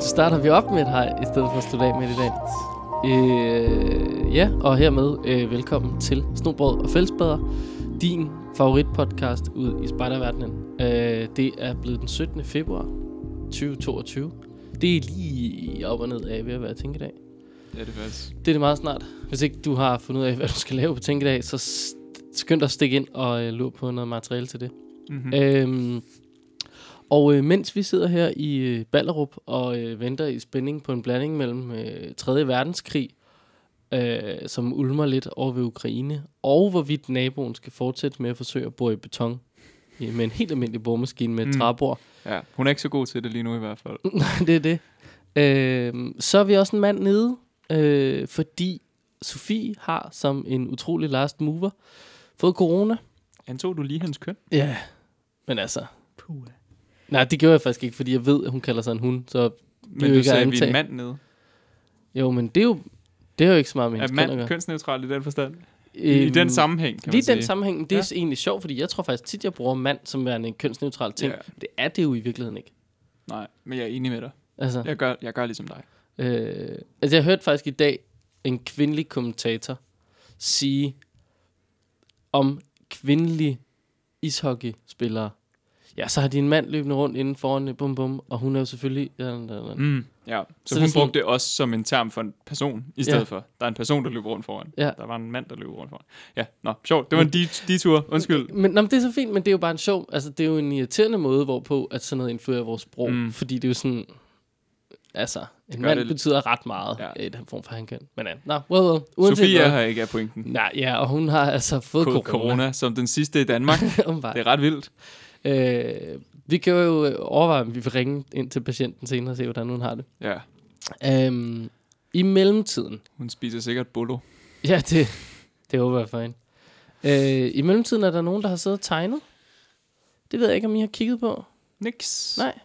starter vi op med et hej, i stedet for at slutte af med et i dag. Øh, ja, og hermed øh, velkommen til Snobrød og Fællesbader, din favoritpodcast ud i spejderverdenen. Øh, det er blevet den 17. februar 2022. Det er lige op og ned af, ved at være tænkedag. Ja, det er faktisk. Det er det meget snart. Hvis ikke du har fundet ud af, hvad du skal lave på tænkedag, så st- skynd dig at stikke ind og øh, lur på noget materiale til det. Mm-hmm. Øhm, og øh, mens vi sidder her i øh, Ballerup og øh, venter i spænding på en blanding mellem øh, 3. verdenskrig, øh, som ulmer lidt over ved Ukraine, og hvorvidt naboen skal fortsætte med at forsøge at bore i beton øh, med en helt almindelig boremaskine med et Mm. mm. træbord. Ja, hun er ikke så god til det lige nu i hvert fald. det er det. Øh, så er vi også en mand nede, øh, fordi Sofie har som en utrolig last mover fået corona. Antog du lige hans køn? Ja, men altså... Puh. Nej, det gjorde jeg faktisk ikke, fordi jeg ved, at hun kalder sig en hund. Så Men jo du ikke at sagde, at vi er antage. en mand nede. jo, men det er jo, det er jo ikke så meget med Er hendes køn at mand gøre. kønsneutral i den forstand? I, I Øhm, den sammenhæng, kan Lige man sige. den sammenhæng, men det er Ja. egentlig sjovt, fordi jeg tror faktisk tit, jeg bruger mand som værende en kønsneutral ting. Ja. Det er det jo i virkeligheden ikke. Nej, men jeg er enig med dig. Altså, Jeg gør, jeg gør ligesom dig. øh, altså, jeg hørte faktisk i dag en kvindelig kommentator sige om kvindelige ishockeyspillere. Ja, så har de en mand løbende rundt inden foran, øh, bum bum, og hun er jo selvfølgelig... Mm. Ja, så, Så så det er hun sådan- brugte det også som en term for en person, i stedet ja. for. Der er en person, der løber rundt foran. Ja. Mm. Der var en mand, der løber rundt foran. Ja, nå, sjovt. Det var en de- detur. Undskyld. Men, nå, men det er så fint, men det er jo bare en sjov, altså det er jo en irriterende måde, hvorpå at sådan noget influerer vores sprog, Mm. mm. fordi det er jo sådan, altså, en gør mand det- betyder ret meget Ja. ja. i den form for han kan. Men ja, nå, well, well, uanset Sofie er hvad. her ikke af pointen. Nej, ja, og hun har altså fået Corona. corona. corona som den sidste i Danmark. corona. Det er ret vildt. øh, vi kan jo øh, overveje, om vi vil ringe ind til patienten senere og se, hvordan hun har det. Ja, Øhm, I mellemtiden, hun spiser sikkert bolo. ja, det, det håber jeg for hende. Øh, I mellemtiden er der nogen, der har siddet og tegnet. Det ved jeg ikke, om I har kigget på. Niks. Nej.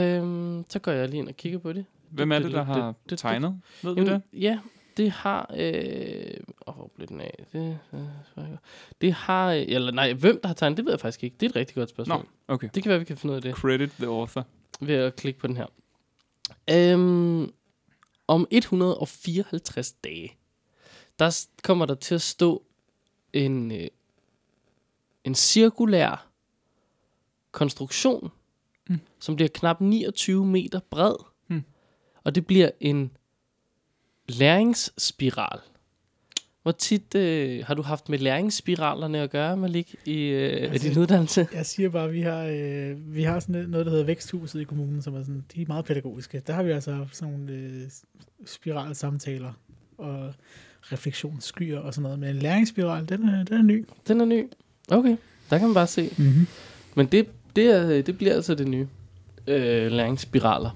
Øhm, så går jeg lige ind og kigger på det. Hvem er det, der har Det- det- tegnet? Ved du det? Jamen, ja, det har... Øh, åh, hvor blev den af? Det, øh, det har... øh, Eller nej, hvem der har tegnet, det ved jeg faktisk ikke. Det er et rigtig godt spørgsmål. Nå, Nå. okay. Det kan være, vi kan finde ud af det Credit the author. ved at klikke på den her. Øhm, om 154 dage, der s- kommer der til at stå en, øh, en cirkulær konstruktion, Mm. mm. som bliver knap 29 meter bred. Mm. Og det bliver en læringsspiral. Hvor tit øh, har du haft med læringsspiralerne at gøre, Malik, i øh, Altså, altså, din uddannelse? Jeg siger bare, at vi har, øh, vi har sådan et- noget, der hedder Væksthuset i kommunen, som er sådan, de er meget pædagogiske. Der har vi altså haft sådan nogle øh, spirale samtaler og refleksionsskyer og sådan noget. Men en læringsspiral, den er, den er ny. Den er ny. Okay, der kan man bare se. Mm-hmm. Men det, det, er, det bliver altså det nye øh, læringsspiraler.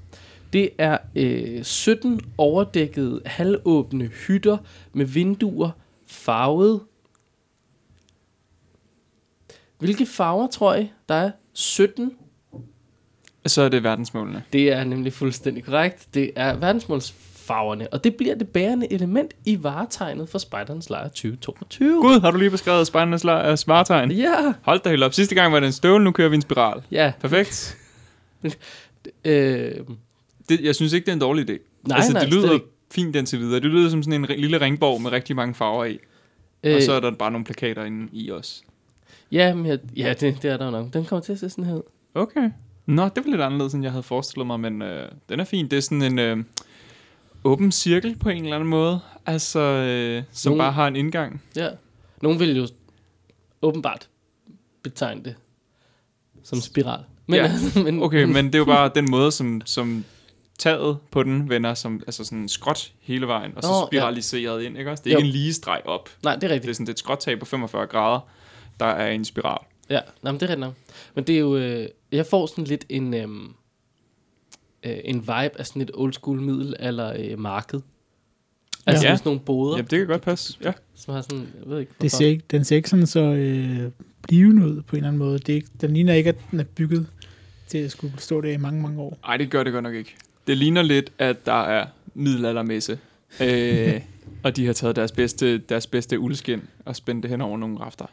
Det er øh, 17 overdækkede, halvåbne hytter med vinduer farvet. Hvilke farver tror I, der er? 17. Så er det verdensmålene. Det er nemlig fuldstændig korrekt. Det er verdensmålsfarverne, og det bliver det bærende element i varetegnet for Spejderens Lejr 2022. Gud, har du lige beskrevet spejdernes lejr af smartegn? Ja, Hold da helt op. Sidste gang var det en støvle, nu kører vi en spiral. ja. Perfekt. Øh, Det, jeg synes ikke, det er en dårlig idé. nej, altså, nej, det slet lyder ikke. fint indtil videre. Det lyder som sådan en ri- lille ringborg med rigtig mange farver i. Øh. Og så er der bare nogle plakater inde i os. Ja, men jeg, ja det, det er der jo nok. Den kommer til at se sådan her ud. Okay. Nå, det var lidt anderledes, end jeg havde forestillet mig, men øh, den er fin. Det er sådan en øh, åben cirkel på en eller anden måde, altså, øh, som Nogle- bare har en indgang. Ja. Nogen vil jo åbenbart betegne det som spiral. Men, Ja. altså, men, Okay, men det er jo bare den måde, som, som taget på den vender, som, altså sådan skråt hele vejen, og så Nå, ja. spiraliseret ind, ikke også? Det er jo. Jo. ikke en lige streg op. Nej, det er Det er rigtigt. sådan det er et skråttag på 45 grader, der er en spiral. Ja, nej, men det er rigtigt nok. Men det er jo... Øh, jeg får sådan lidt en... øhm, Øh, en vibe af sådan et old school middel eller øh, marked. Altså Ja. ja. sådan nogle boder, Jamen, det kan godt passe. Ja. som har sådan... Jeg ved ikke, Det hvorfor. ser ikke, den ser ikke sådan så øh, blivende ud på en eller anden måde. Det er ikke, den ligner ikke, at den er bygget til at skulle stå der i mange, mange år. Ej, det gør det godt nok ikke. Det ligner lidt, at der er middelaldermesse. Øh, og de har taget deres bedste, deres bedste uldskin og spændt det hen over nogle rafter.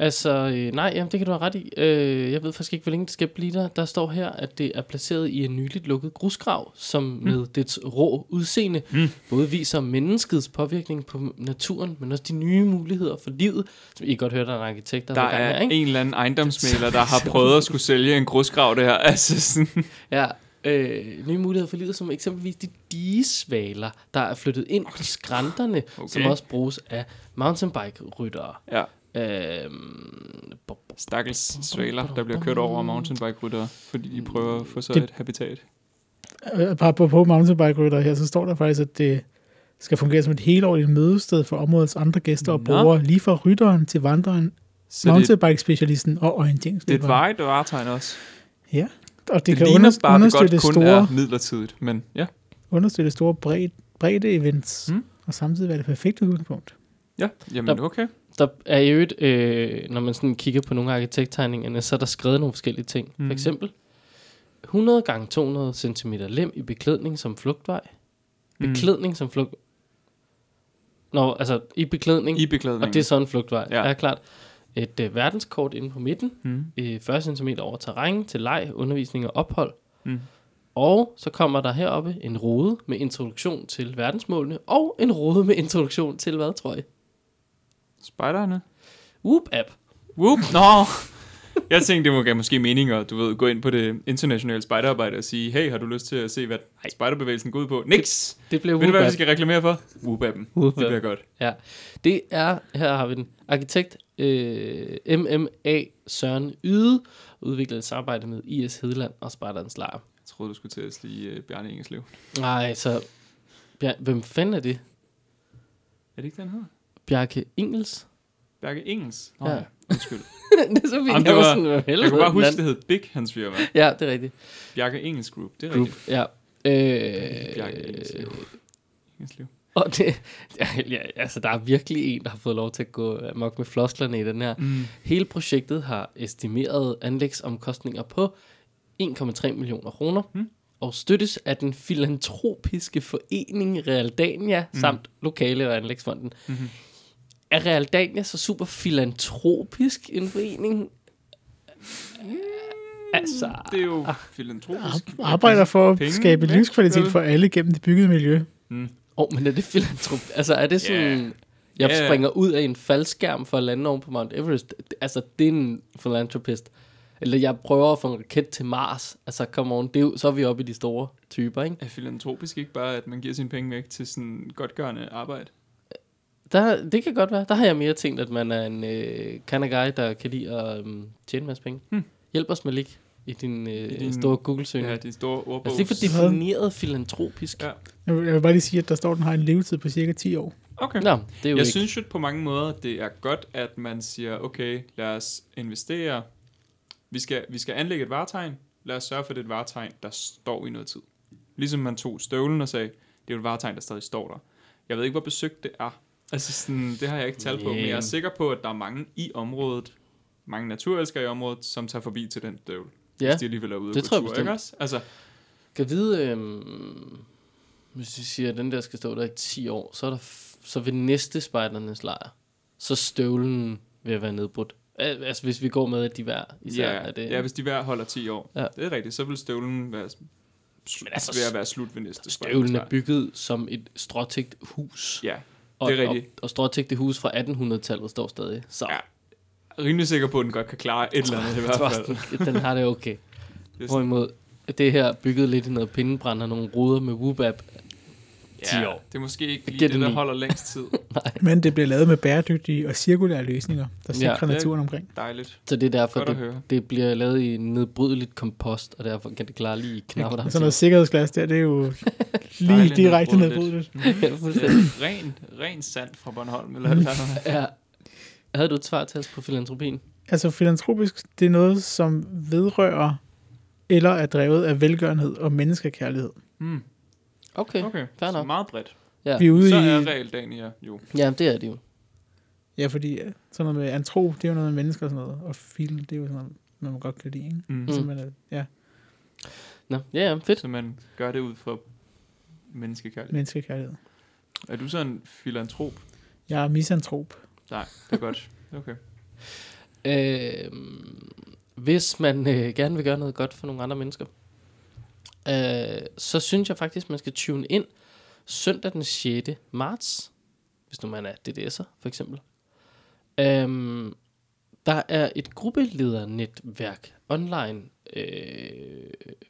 Altså, øh, nej, jamen, det kan du have ret i. Øh, jeg ved faktisk ikke, hvor længe det skal blive der. Der står her, at det er placeret i en nyligt lukket grusgrav, som mm. med dets rå udseende mm. både viser menneskets påvirkning på naturen, men også de nye muligheder for livet, som I kan godt høre, der er en arkitekt, der, Der har gang er med, ikke? en eller anden ejendomsmaler, der har prøvet at skulle sælge en grusgrav, det her. Altså sådan, Ja, øh, nye muligheder for livet, som eksempelvis de digesvaler, der er flyttet ind på skrænterne, okay. som Okay. også bruges af mountainbike-ryttere. ja. Øhm, bo- bo- Stakkels svaler, der bliver kørt over af mountainbike-ryttere, fordi de prøver at få sig Det- et habitat. Øh, Bare på, på mountainbike rytter her, så står der faktisk, at det skal fungere som et helårigt mødested for områdets andre gæster og Nå. brugere, lige fra rytteren til vandreren, Så det, mountainbike-specialisten og det er et orienteringsløberen. vejet varetegn også. Ja, og det, Det, kan det ligner under, bare, at det understøtte, godt kun store, er midlertidigt, men ja. understøtte store bred, bredde events, Mm. mm. og samtidig være det perfekte udgangspunkt. Ja, jamen Der- okay. Der er i øvrigt, øh, når man sådan kigger på nogle af arkitekttegningerne, så er der skrevet nogle forskellige ting. Mm. Mhm. For eksempel 100 gange 200 cm lem i beklædning som flugtvej. Mm. Beklædning som flugt... Nå, altså i beklædning, I beklædning. og det er så en flugtvej. Ja. Ja. Er klart. Et øh, verdenskort inde på midten, mm. øh, 40 cm over terræn til leg, undervisning og ophold. Mm. Og så kommer der heroppe en rode med introduktion til verdensmålene, og en rode med introduktion til hvad, tror jeg? Spejderne. Whoop-app. Whoop, nå. Jeg tænkte, det må gav måske mening at du ved, gå ind på det internationale spejderarbejde og sige, hey, har du lyst til at se, hvad spejderbevægelsen går ud på? Niks! Det bliver Ved du, hvad vi whoop-app. skal reklamere for? Whoop-appen. Det Whoop-appen. bliver godt. Ja, det er, her har vi den, arkitekt øh, MMA Søren Yde, udviklet et samarbejde med IS Hedeland og Spartans Lejr. Jeg troede, du skulle til at sige uh, Bjarne Engelslev. Nej, så, Bjer- hvem fanden er det? Er det ikke, den hedder? Bjarke Ingels? Bjarke Engels? Nå, Ja. ja. Undskyld. det er så fint, Jamen, det jeg var var- sådan, Altså, hvad Jeg kunne bare huske, det. det hed Big, hans firma. Ja, det er rigtigt. Bjarke Engels Group. Det er Group, rigtigt. ja. Bjarke Engelslev. Øh, Engelslev. og det, ja, altså, der er virkelig en, der har fået lov til at gå amok med flosklerne i den her. Mm. Hele projektet har estimeret anlægsomkostninger på 1,3 millioner kroner, Mm. mm. og støttes af den filantropiske forening Realdania mm. samt Lokale- og Anlægsfonden. Mhm. Mm-hmm. Er Realdania så super filantropisk en forening? Altså, Det er jo filantropisk. Ar- ah, Arbejder for at Penge, skabe ikke? livskvalitet Vel? for alle gennem det byggede miljø. Mm. åh, oh, men er det filantrop? Altså, er det sådan... Ja. Yeah. Jeg Ja. springer ud af en faldskærm for at lande oven på Mount Everest. Altså, det er en filantropist. Eller jeg prøver at få en raket til Mars. Altså, come on, det er jo, så er vi oppe i de store typer, ikke? Altså, Er filantropisk ikke bare, at man giver sine penge væk til sådan godtgørende arbejde? Der, det kan godt være. Der har jeg mere tænkt, at man er en øh, kind of guy, der kan lide at øh, tjene en masse penge. Hmm. Hmm. Hjælp os med lig i din, øh, din- din store Google-søgning. Ja, Ja, de store ordbog. altså, det er for Hvad? defineret filantropisk. Ja. Ja. Jeg vil, jeg vil bare lige sige, at der står, at den har en levetid på cirka 10 år. Okay. Nå, det er jo Jeg ikke. synes jo på mange måder, at det er godt, at man siger, okay, lad os investere. Vi skal, vi skal anlægge et varetegn. Lad os sørge for, at det er et varetegn, der står i noget tid. Ligesom man tog støvlen og sagde, det er jo et varetegn, der stadig står der. Jeg ved ikke, hvor besøgt det er. Altså sådan, det har jeg ikke tal på, men jeg er Yeah. sikker på, at der er mange i området, mange naturelskere i området, som tager forbi til den støvle. Ja. Hvis de alligevel er ude det på tror jeg tur, bestemt. ikke også? Altså, Kan vide, øh, hvis vi siger, at den der skal stå der i 10 år, så, er der f- så ved næste spejdernes lejr, så støvlen vil være nedbrudt. Al- Altså, hvis vi går med, at de hver især ja, er det. ja, hvis de hver holder 10 år. Ja. Det er rigtigt, så vil støvlen være, Men altså, altså, ved at være slut ved næste Støvlen spejdernes er bygget som et stråtægt hus. Ja, Og, Det er rigtigt. Og, og stråtægte hus fra 1800-tallet står stadig. Så Ja, rimelig sikker på, at den godt kan klare et eller andet i jeg tror hvert også, fald. den- den har det okay. Det er sådan- Hvorimod det her bygget lidt i noget pindebrand og nogle ruder med whoop-app. 10 år. Det er måske ikke lige Giver det, den der ni. holder længst tid. Men det bliver lavet med bæredygtige og cirkulære løsninger, Ja, der sikrer det- ja, naturen omkring. Dejligt. Så det er derfor, Godt at det, høre. det bliver lavet i nedbrydeligt kompost, og derfor kan det klare lige i knapper. der er Sådan noget sikkerhedsglas der, det er jo lige Dejligt direkte nedbrudeligt. nedbrudt. til. Ja, Det fuldstændig. er Øh, ren, ren sand fra Bornholm eller et eller andet. ja. Havde du et svar til os på filantropien? Altså filantropisk, det er noget, som vedrører eller er drevet af velgørenhed og menneskekærlighed. Mm, Okay. okay. okay, fair så nok. meget bredt. Ja. Vi er ude Så er i... Realdania jo. Ja, det er det jo. Ja, fordi øh, sådan noget med antrop, det er jo noget med mennesker og sådan noget. Og film, det er jo sådan noget, man godt kan lide, ikke? Mm. Så Mm. man er, ja, Nå, ja, ja, fedt. Så man gør det ud for menneskekærlighed. menneskekærlighed. Er du så en filantrop? Jeg er misantrop. Nej, det er godt. Okay. Øh, hvis man øh, gerne vil gøre noget godt for nogle andre mennesker, øh, så synes jeg faktisk, man skal tune ind søndag den 6. marts, hvis nu man er DDS'er for eksempel. Øh, der er et gruppeledernetværk online, øh,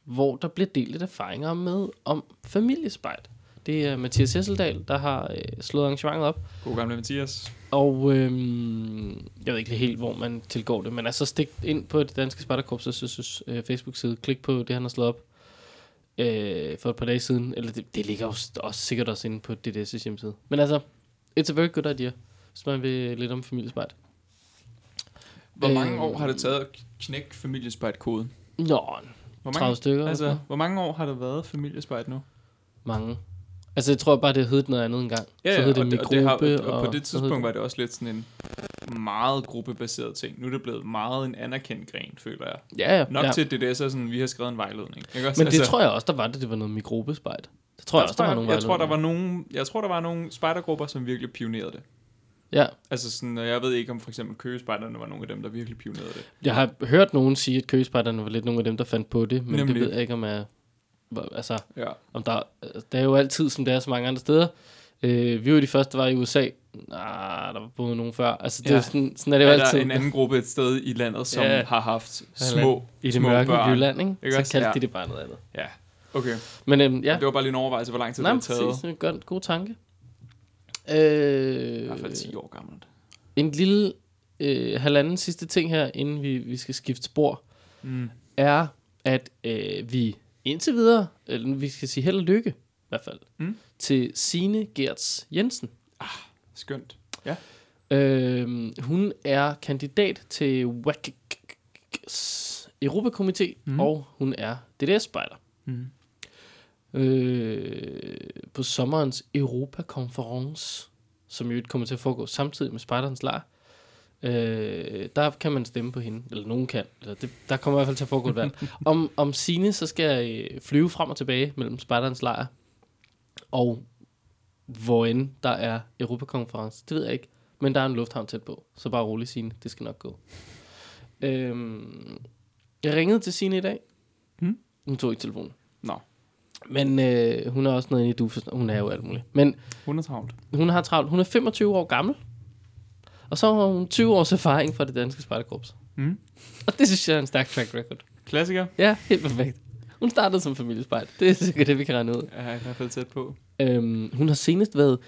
hvor der bliver delt erfaringer med om familiespejl. Det er Mathias Hesseldal, der har øh, slået arrangementet op, God gamle Mathias. og øhm, jeg ved ikke lige helt, hvor man tilgår det, men altså stik ind på det danske Spartakorps' øh, Facebook-side, klik på det, han har slået op øh, for et par dage siden, eller det, det ligger jo st- også sikkert også inde på DDS' hjemmeside. Men altså, it's a very good idea, hvis man vil lidt om familiespejt. Hvor mange Øhm. år har det taget at knække familiespejtkoden? Nå, Hvor 30 mange, stykker. altså, Altså, hvor mange år har der været familiespejt nu? mange. Altså, jeg tror bare, det hed noget andet engang. så hed det og, min og, gruppe. det har, og, og på det så hed tidspunkt var det også lidt sådan en meget gruppebaseret ting. Nu er det blevet meget en anerkendt gren, føler jeg. Ja, ja. Nok ja. ja. til DDS er sådan, vi har skrevet en vejledning. Ikke også? Men det tror jeg også, der var det, det var noget mikrobespejt. Det tror jeg, også, der var nogle jeg, jeg tror, der var nogle, jeg tror, der var nogle spejdergrupper, som virkelig pionerede det. Ja, Altså sådan, og jeg ved ikke om for eksempel køgespejderne var nogle af dem, der virkelig pionerede det. jeg har hørt nogen sige, at køgespejderne var lidt nogle af dem, der fandt på det, men Nemlig. det ved jeg ikke, om jeg... hvor- Altså, Ja. om der, der er jo altid, som der er så mange andre steder. Øh, vi var de første, der var i USA. Nej, der var både nogen før. Altså, det ja. Ja. er jo sådan, sådan er det jo er altid. der en anden gruppe et sted i landet, som Ja. ja. har haft små, I det små mørke børn. Jylland, ikke? Ikke så også? kaldte Ja. de det bare noget andet. Ja, okay. Men øhm, ja, Det var bare lige en overvejelse, hvor lang tid Nej, det men har taget. præcis. Det er en god, god tanke. I hvert Øh, fald 10 år gammelt. en lille øh, halvanden sidste ting her, inden vi, vi skal skifte spor, Mm. er, at øh, vi indtil videre, eller vi skal sige held og lykke, i hvert fald, Mm. til Sine Gerts Jensen. Skønt. Øh, hun er kandidat til WAC's Europakomité, mm. Mm. og hun er DDS-spejder. Mm. øh, på sommerens Europakonference, som jo kommer til at foregå samtidig med Spartans Lar. Øh, der kan man stemme på hende, eller nogen kan. Eller det, der kommer i hvert fald til at foregå et valg. Om, om sine så skal jeg øh, flyve frem og tilbage mellem Spartans Lejr og hvor end der er Europakonference. Det ved jeg ikke, men der er en lufthavn tæt på. Så bare rolig, Signe. Det skal nok gå. Øhm, jeg ringede til Signe i dag. Mm. Hun tog ikke telefonen. Nå. Men øh, hun er også noget inde i du Hun er jo alt muligt. Men 100 travlt. hun har travlt. Hun er 25 år gammel. Og så har hun 20 års erfaring fra det danske spejderkorps. Mm. Og det synes jeg er en stærk track record. Klassiker. Hmm? Ja, helt perfekt. Hun startede som familiespejl. Det er sikkert det, vi kan regne ud. Er i hvert fald tæt på. Øhm, hun har senest været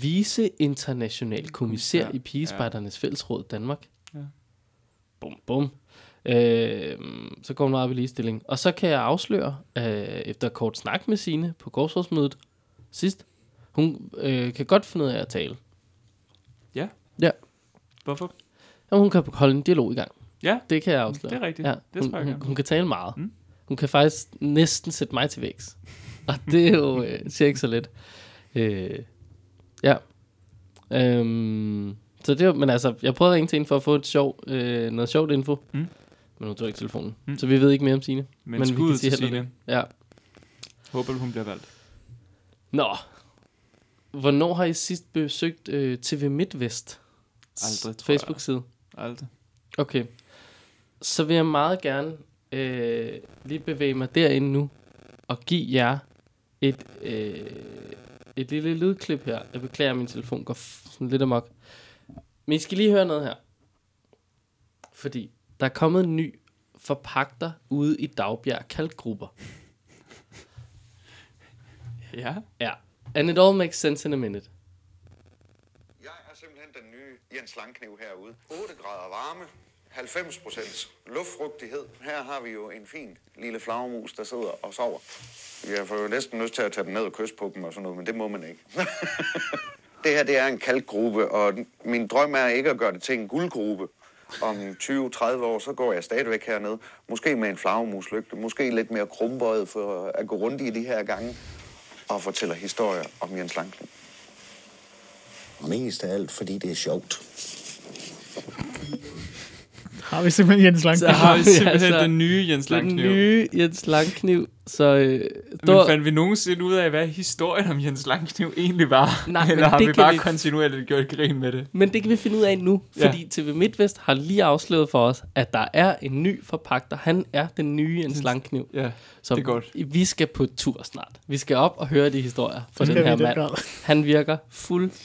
vice international kommissær i Kommissær, Pigespejdernes ja. Fællesråd Danmark. Ja. Ja. Bum, bum. Øhm, så går hun meget op i ligestilling. Og så kan jeg afsløre, øh, efter kort snak med sine på korpsrådsmødet sidst, hun øh, kan godt finde ud af at tale. Hvorfor? Jamen, hun kan holde en dialog i gang. Ja, Det kan jeg det afsløre. er rigtigt. Ja, Det hun, tror jeg hun, gerne. hun kan tale meget. Mm. Mm. Hun kan faktisk næsten sætte mig til vægs. Og det er jo øh, siger ikke så let. Øh, ja. Øhm, så det var, men altså, jeg prøvede at ringe til hende for at få et sjov, øh, noget sjovt info. Mm. Mm. Men hun tog ikke telefonen. Mm. Mm. Så vi ved ikke mere om Signe. Men, Men Men vi kan skuddet sige til held og Signe. Ja. Håber du, hun bliver valgt. Nå. Hvornår har I sidst besøgt øh, TV MidtVest? Aldrig, tror jeg. Facebook-side. Aldrig. Okay. Så vil jeg meget gerne øh, lige bevæge mig derinde nu og give jer et, øh, et lille lydklip her. Jeg beklager, at min telefon går f- sådan lidt amok. Men I skal lige høre noget her. Fordi der er kommet en ny forpagter ude i Dagbjerg Kalkgrupper. Ja. Ja. And it all makes sense in a minute. Jeg er simpelthen den nye Jens Langkniv herude. 8 grader varme, 90 procent luftfrugtighed. Her har vi jo en fin lille flagermus, der sidder og sover. Jeg får jo næsten lyst til at tage den ned og kysse på dem og sådan noget, men det må man ikke. det her, det er en kalkgruppe, og min drøm er ikke at gøre det til en guldgruppe. Om 20-30 år, så går jeg stadigvæk hernede. Måske med en flagermuslygte, måske lidt mere krumbøjet for at gå rundt i de her gange og fortæller historier om Jens Langkniv. Mest af alt, fordi det er sjovt. Har vi simpelthen Jens Lang? Så Der har vi vi simpelthen altså- altså, den nye Jens Den Langkniv. nye Jens Langkniv. Så øh, Men der, fandt vi nogensinde ud af, hvad historien om Jens Langkniv egentlig var? Nej, men Eller har det vi kan bare vi- kontinuerligt gjort grin med det? men det kan vi finde ud af nu, Ja. fordi TV MidtVest har lige afsløret for os, at der er en ny forpagter. Han er den nye Jens Langkniv. Ja, Så det er godt. vi skal på tur snart. Vi skal op og høre de historier fra den Det skal her vi i den mand. grad. Han virker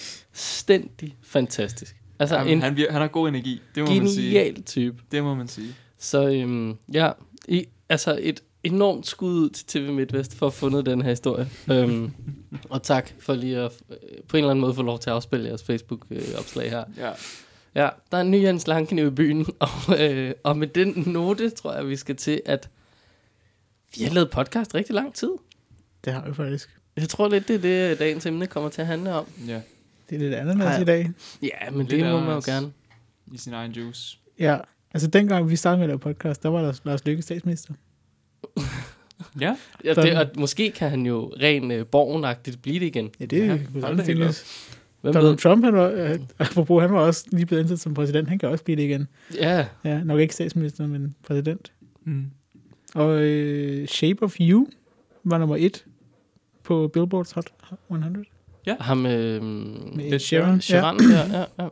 fuldstændig fantastisk. Altså Jamen, en han, vir- han har god energi, det må man sige. genial type. Det må man sige. Så øhm, ja, I, altså et enormt skud ud til TV MidtVest for at have fundet den her historie. øhm, og tak for lige at øh, på en eller anden måde få lov til at afspille jeres Facebook-opslag her. Ja. Ja, der er en ny Jens Langkniv i byen, og, øh, og med den note tror jeg, vi skal til, at vi har lavet podcast rigtig lang tid. Det har vi faktisk. Jeg tror lidt, det er det, dagens emne kommer til at handle om. ja, Det er lidt ananas Ej. i dag. Ja, men Lidt det må man jo ananas. gerne. i sin egen juice. Ja, altså dengang vi startede med at lave podcast, der var der Lars Lykke statsminister. Ja, Ja, det, og måske kan han jo ren øh, borgenagtigt blive det igen. Ja, det Ja, ja, hold kunne da sagtens helt tænkes. Hvem ved? Donald Trump, han var, øh, apropos, han var også lige blevet ansat som præsident. Han kan også blive det igen. Ja, Ja, nok ikke statsminister, men præsident. mm. Og øh, Shape of You var nummer et på Billboard's Hot 100. ham... Øh, Med Ed Ed Sheeran. Ja. Sharon, ja. ja,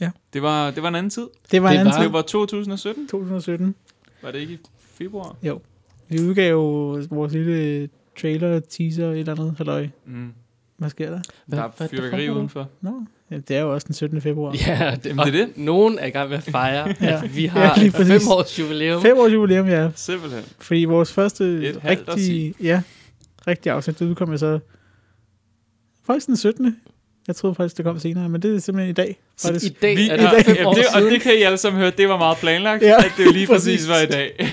ja. det, var, det var en anden tid. Det var Det det var- var... Det var 2017. 2017. Var det ikke i februar? Vi udgav jo vores lille trailer, teaser, et eller andet. Halløj, Mm. hvad sker der? Hvad- der hvad- hvad er fyrværkeri foregår der? udenfor. Nå, ja, det er jo også den 17. februar. Ja, det, Jamen, og det er det. nogen er i gang med at fejre, Ja. at vi Ja, har ja, lige et præcis. fem års jubilæum. Fem års jubilæum, ja. Simpelthen. Fordi vores første Et halvt rigtige, ja, rigtige afsnit, det udkom jeg så faktisk den 17. Jeg troede faktisk, det kom senere, men det er simpelthen i dag. Så faktisk. i dag Vi, er ja, det fem ja, år det, og siden. det kan I alle sammen høre, det var meget planlagt, ja, Ja, at det jo lige præcis præcis. var i dag.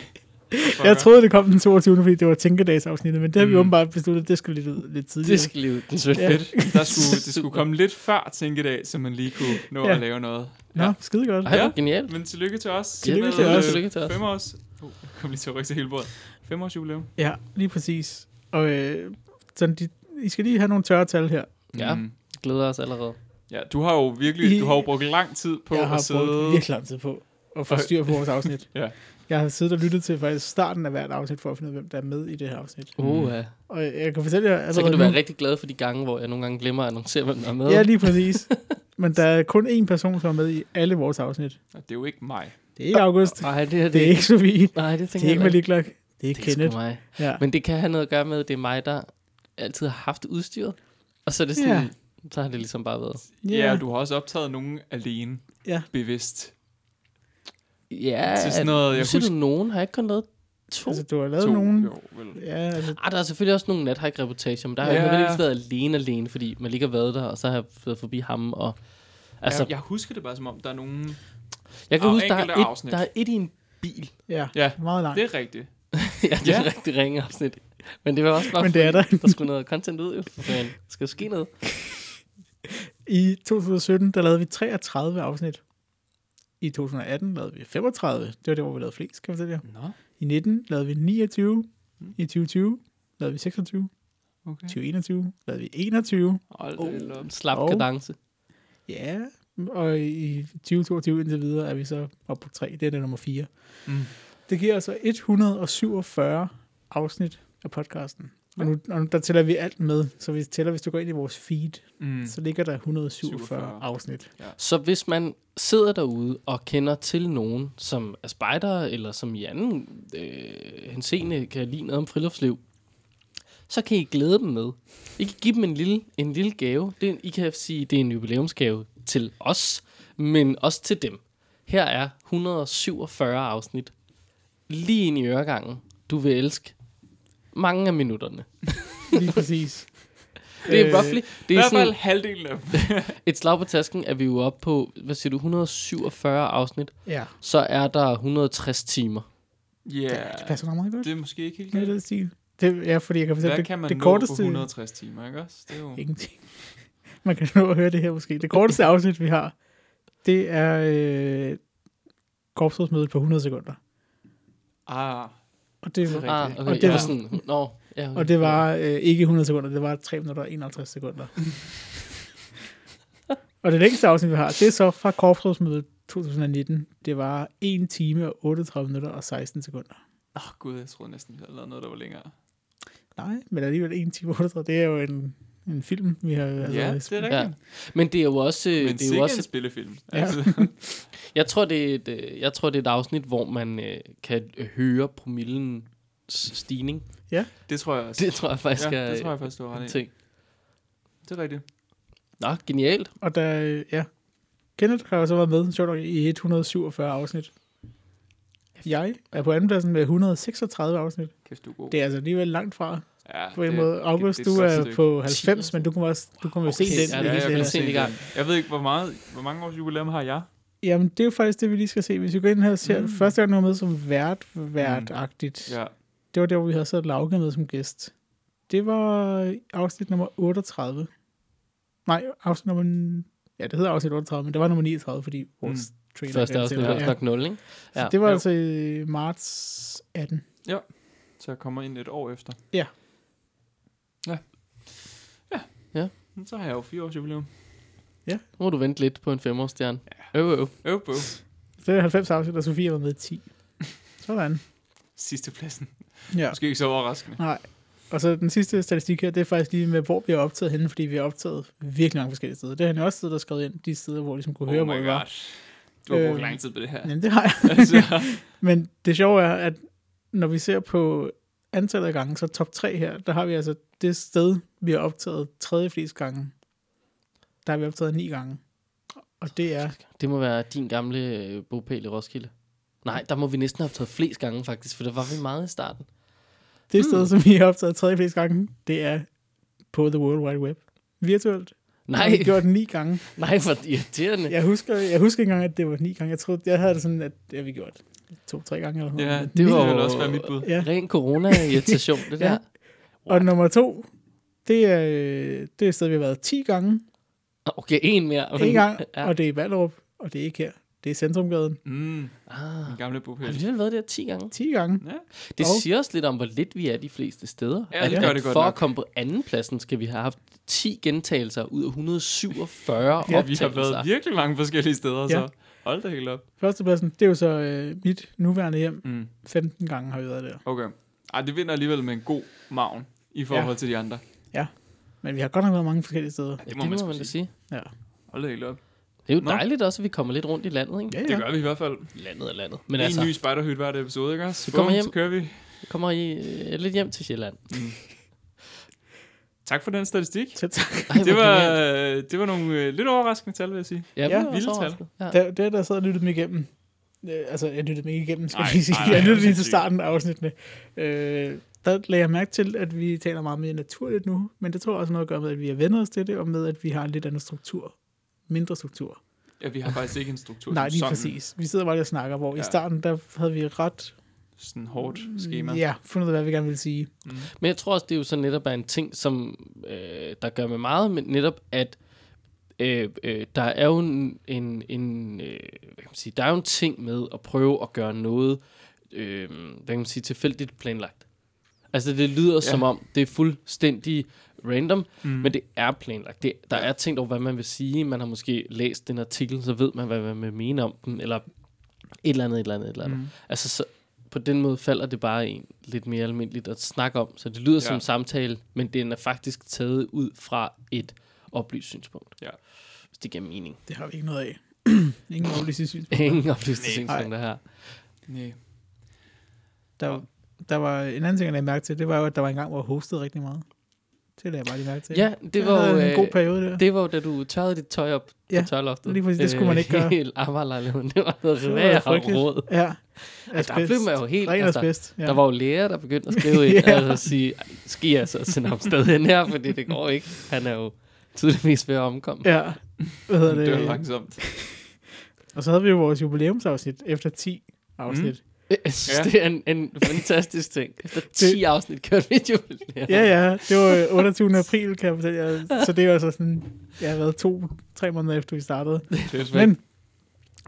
Jeg troede, det kom den 22. fordi det var tænkedagsafsnittet, men det har vi Mm. åbenbart besluttet, det skulle lidt, ud- lidt tidligere. Det skal lige ud den 17. Ja. Ja. Fedt. Der skulle, det skulle komme lidt før tænkedag, så man lige kunne nå ja. Ja. at lave noget. Nå, Ja. skide godt. Ej, Ja. hvor genialt. Men tillykke til os. Tillykke med, til os. øh, Tillykke til os. Fem års... Oh, jeg kom lige til at rykke til hele bordet. Fem års jubilæum. Ja, lige præcis. Og øh, sådan, de, I skal lige have nogle tørre tal her. Ja. Glæder os allerede. Mm. ja. Du har jo virkelig I- du har jo brugt lang tid på jeg har at sidde... brugt virkelig lang tid på at få Og- styr på vores afsnit. Ja. Jeg har siddet og lyttet til faktisk starten af hvert afsnit, for at finde ud af, hvem der er med i det her afsnit. Mm. Uh, ja. Og øh, jeg kan fortælle jer allerede Så kan du nu- være rigtig glad for de gange, hvor jeg nogle gange glemmer at annoncere, hvem der er med. Ja, lige præcis. Men der er kun én person, som er med i alle vores afsnit. Og det er jo ikke mig. Det er ikke August. Nej, det er Det er det ikke Sofie. Nej, det Det tænker er jeg ikke heller ikke. Malik Det er Det er sgu Kenneth. mig. Ja. Men det kan have noget at gøre med, at det er mig, der altid har haft udstyret. Og så er det sådan, Ja. så har det ligesom bare været. Ja, yeah. og du har også optaget nogen alene. Ja. Bevidst. Ja, Til sådan noget, jeg jeg husker... du nogen? Har jeg ikke kun lavet to? Altså, Altså, du har lavet nogen... Jo, vel. Ja, altså, ah, der er selvfølgelig også nogle nathike-reportager, men der har jeg Ja. ja. ikke været alene alene, fordi man lige har været der, og så har jeg været forbi ham. Og... Altså, Altså, jeg, ja, jeg husker det bare som om, der er nogen... jeg kan og huske, der enkelte er, et, afsnit. der er et i en bil. ja. Ja, Meget langt. det er rigtigt. ja, det er Ja. ja. rigtig ringe afsnit. Men det var også bare, Men det er fordi, der. der skulle noget content ud, jo. For fanden. Der skal jo ske noget. I 2017, der lavede vi 33 afsnit. I 2018 lavede vi 35. Det var det, hvor vi lavede flest, kan jeg fortælle jer. Nå, I 19 lavede vi 29. I 2020 lavede vi 26. okay. I 2021 lavede vi 21. Hold da op. Oh, slap Og- kadence. Ja, og i 2022 indtil videre er vi så oppe på 3. Det er det nummer 4. Mm. Det giver altså 147 afsnit af podcasten. Og nu, og nu der tæller vi alt med, så vi tæller, hvis du går ind i vores feed, Mm. mm. så ligger der 147 47. afsnit. Så hvis man sidder derude og kender til nogen, som er spejder, eller som i anden øh, henseende kan lide noget om friluftsliv, så kan I glæde dem med. I kan give dem en lille, en lille gave. Det, er- I kan sige, det er en jubilæumsgave til os, men også til dem. Her er 147 afsnit. Lige ind i øregangen. Du vil elske mange af minutterne. Lige præcis. Det er Øh, roughly. I Det er hvert fald sådan halvdelen af dem. et slag på tasken, at vi er jo oppe på, hvad siger du, 147 afsnit. Ja, så er der 160 timer. Ja, det passer nok meget godt. det er måske ikke helt Det er galt. det stil. Det, ja, fordi jeg kan fortælle, Hvad det, kan man det nå korteste... på 160 timer, ikke også? Det er jo... Ingenting. Man kan nå at høre det her måske. Det korteste afsnit, vi har, det er øh, korpsrådsmødet på 100 sekunder. Ah, Og det, Rigtigt. Ah, okay. Og det jeg var- var sådan, nå, ja, okay. og det var øh, ikke 100 sekunder, det var 3 minutter og 51 sekunder. og det længste afsnit, vi har, det er så fra korpsrådsmødet 2019, det var 1 time og 38 minutter og 16 sekunder. Åh oh, gud, jeg troede næsten, vi havde lavet noget, der var længere. Altså, Nej, men alligevel 1 time og 38, det er jo en, en film, vi har... Altså, ja, det er rigtigt. Ja. Ja. Men det er jo også... øh, Men det er sikke jo også... en også spillefilm. Ja. Altså, jeg, tror, det er et, øh, jeg tror, det er et afsnit, hvor man øh, kan høre promillen stigning. det tror jeg også. Det tror jeg faktisk ja, er det tror jeg faktisk, du har en ret i. ting. Det er rigtigt. Nå, genialt. Og der, øh, ja, Kenneth har også været med, sjovt nok, i 147 afsnit. Jeg er på andenpladsen med 136 afsnit. Kæft, du er god. Det er altså alligevel langt fra, ja, på en det- måde. August, det du et godt er stykke. på Ti 90, men du kommer også du kommer jo se Okay, den. ja, i det er det jeg her. kan se den i gang. Jeg ved ikke, hvor, meget, hvor mange års jubilæum har jeg? Jamen, det er jo faktisk det, vi lige skal se. Hvis vi går ind her og ser, Mm. mm. første gang du var med som vært, værtagtigt. Ja. Det var der, hvor vi havde sat Lauke med som gæst. Det var afsnit nummer 38. Nej, afsnit nummer... Ja, det hedder afsnit 38, men det var nummer 39, fordi vores mm. trailer... Første den afsnit sælger. var nok 0, ikke? Så Ja. det var Jo. altså i marts 18. Så jeg kommer ind et år efter. Ja. Ja. Ja. Ja. Men Så har jeg jo fire års jubilæum. Nu må du vente lidt på en femårsstjerne. Ja. Øv, øv. Øv på. Så det er 90 afsnit, og Sofie var med i 10. Sådan. Sidste pladsen. Ja. Måske ikke så overraskende. Nej. Og så den sidste statistik her, det er faktisk lige med, hvor vi har optaget henne, fordi vi har optaget virkelig mange forskellige steder. Det har han jo også siddet og skrevet ind, de steder, hvor ligesom Oh kunne høre, hvor vi var. Du har brugt Øh, lang tid på det her. Jamen, det har jeg. altså, Men det sjove er, at når vi ser på antallet af gange, så top 3 her, der har vi altså det sted, vi har optaget tredje flest gange. Der har vi optaget 9 gange. Og det er, Det må være din gamle øh, bopæl i Roskilde. Nej, der må vi næsten have optaget flest gange faktisk, for der var vi meget i starten. det sted, som vi har optaget tredje flest gange, det er på The World Wide Web. Virtuelt. Nej, Har vi gjort 9 gange. nej, for irriterende. Jeg husker, jeg husker ikke engang, at det var ni gange. Jeg troede, jeg havde det sådan, at det har vi gjort to-tre gange eller sådan ja, noget. det var var jo- jo også være mit bud. Ja. Ren corona-irritation, det der. Ja. Og nummer to, det er, øh, det er et sted, vi har været 10 gange. Okay, en mere. En gang, Ja. og det er i Ballerup, og det er ikke her. Det er Centrumgaden. Mm, Ah. min gamle Har bogpæl. vi alligevel været der 10 gange? 10 gange. Ja. Det Og- siger også lidt om, hvor lidt vi er de fleste steder. Altså, Ja, det gør det godt for nok. at komme på andenpladsen, skal vi have haft 10 gentagelser ud af 147 ja, ja, optagelser. vi har været virkelig mange forskellige steder, Ja. så hold da helt op. Førstepladsen, det er jo så øh, mit nuværende hjem. Mm. 15 gange har vi været der. Okay. Ej, det vinder alligevel med en god maven i forhold ja. til de andre. Men vi har godt nok været mange forskellige steder. Ja, det må man, sgu man da sige. Ja, Hold da helt op. Det er jo Nå. dejligt også, at vi kommer lidt rundt i landet, ikke? ja. Det ja. gør vi i hvert fald. Landet er landet. Men en altså, ny spiderhyt hver episode, ikke også? Vi kommer Bum, hjem. Så kører vi. kommer I øh, lidt hjem til Sjælland? Tak for den statistik. Så tak. Ej, Det hvor var, genialt. øh, det var nogle øh, lidt overraskende tal, vil jeg sige. Ja, ja, ja vilde vildt tal. Ja. Der, der, der sad og lyttede dem igennem. Øh, altså, jeg lyttede dem ikke igennem, skal Nej, jeg lige sige. nej, nej, Jeg lyttede lige til sindssygt. starten af afsnittene. Øh, der lagde jeg mærke til, at vi taler meget mere naturligt nu, men det tror jeg også har noget at gøre med, at vi har vendt os til det, og med, at vi har en lidt anden struktur. Mindre struktur. Ja, vi har faktisk ikke en struktur. Nej, som lige sådan, præcis. Vi sidder bare lige og snakker, hvor ja. Ja. i starten, der havde vi ret Sådan hårdt schema. ja, fundet ud af, hvad vi gerne ville sige. Men jeg tror også, det er jo så netop er en ting, som øh, der gør mig meget, men netop at øh, øh, der er jo en, en, en øh, hvad kan man sige, der er jo en ting med at prøve at gøre noget, øh, hvad kan man sige, tilfældigt planlagt. Altså det lyder ja. som om, det er fuldstændig random, mm. men det er planlagt. Det, der er tænkt over, hvad man vil sige. Man har måske læst den artikel, så ved man, hvad man vil mene om den, eller et eller andet, et eller andet, et eller andet. Mm. Altså så, på den måde falder det bare en lidt mere almindeligt at snakke om. Så det lyder ja. som en samtale, men den er faktisk taget ud fra et oplyst synspunkt. Ja. Hvis det giver mening. Det har vi ikke noget af. Ingen ordentlig synspunkt. Ingen oplyste Nej. synspunkter her. Nej. Der, der var en anden ting, jeg lagde mærke til, det var jo, at der var en gang, hvor jeg hostede rigtig meget. Det lagde jeg bare lige mærke til. Ja, det det var var jo... en øh, god periode der. Det var jo, da du tørrede dit tøj op ja, Ja, på tørloftet. lige præcis. Det skulle man ikke gøre. Helt arbejderlejligheden. Det var noget Det var revær og frygteligt. råd. Ja. Altså, der blev man jo helt... Ren Altså, asbest. ja. Der var jo læger, der begyndte at skrive ind, Ja. altså at sige, "Ej, skal I altså sende ham sted hen her, fordi det går ikke. Han er jo tydeligvis ved at omkomme. Ja. Ja. Hvad hedder Det var det? langsomt. Og så havde vi jo vores jubilæumsafsnit efter 10 afsnit. Mm. Jeg synes, det er en, en fantastisk ting. Efter 10 afsnit kørte vi et jubilæum. Ja, ja. Det var øh, 28. april, kan jeg fortælle jer. Så det er jo så sådan, jeg har været to, tre måneder efter, vi startede. Men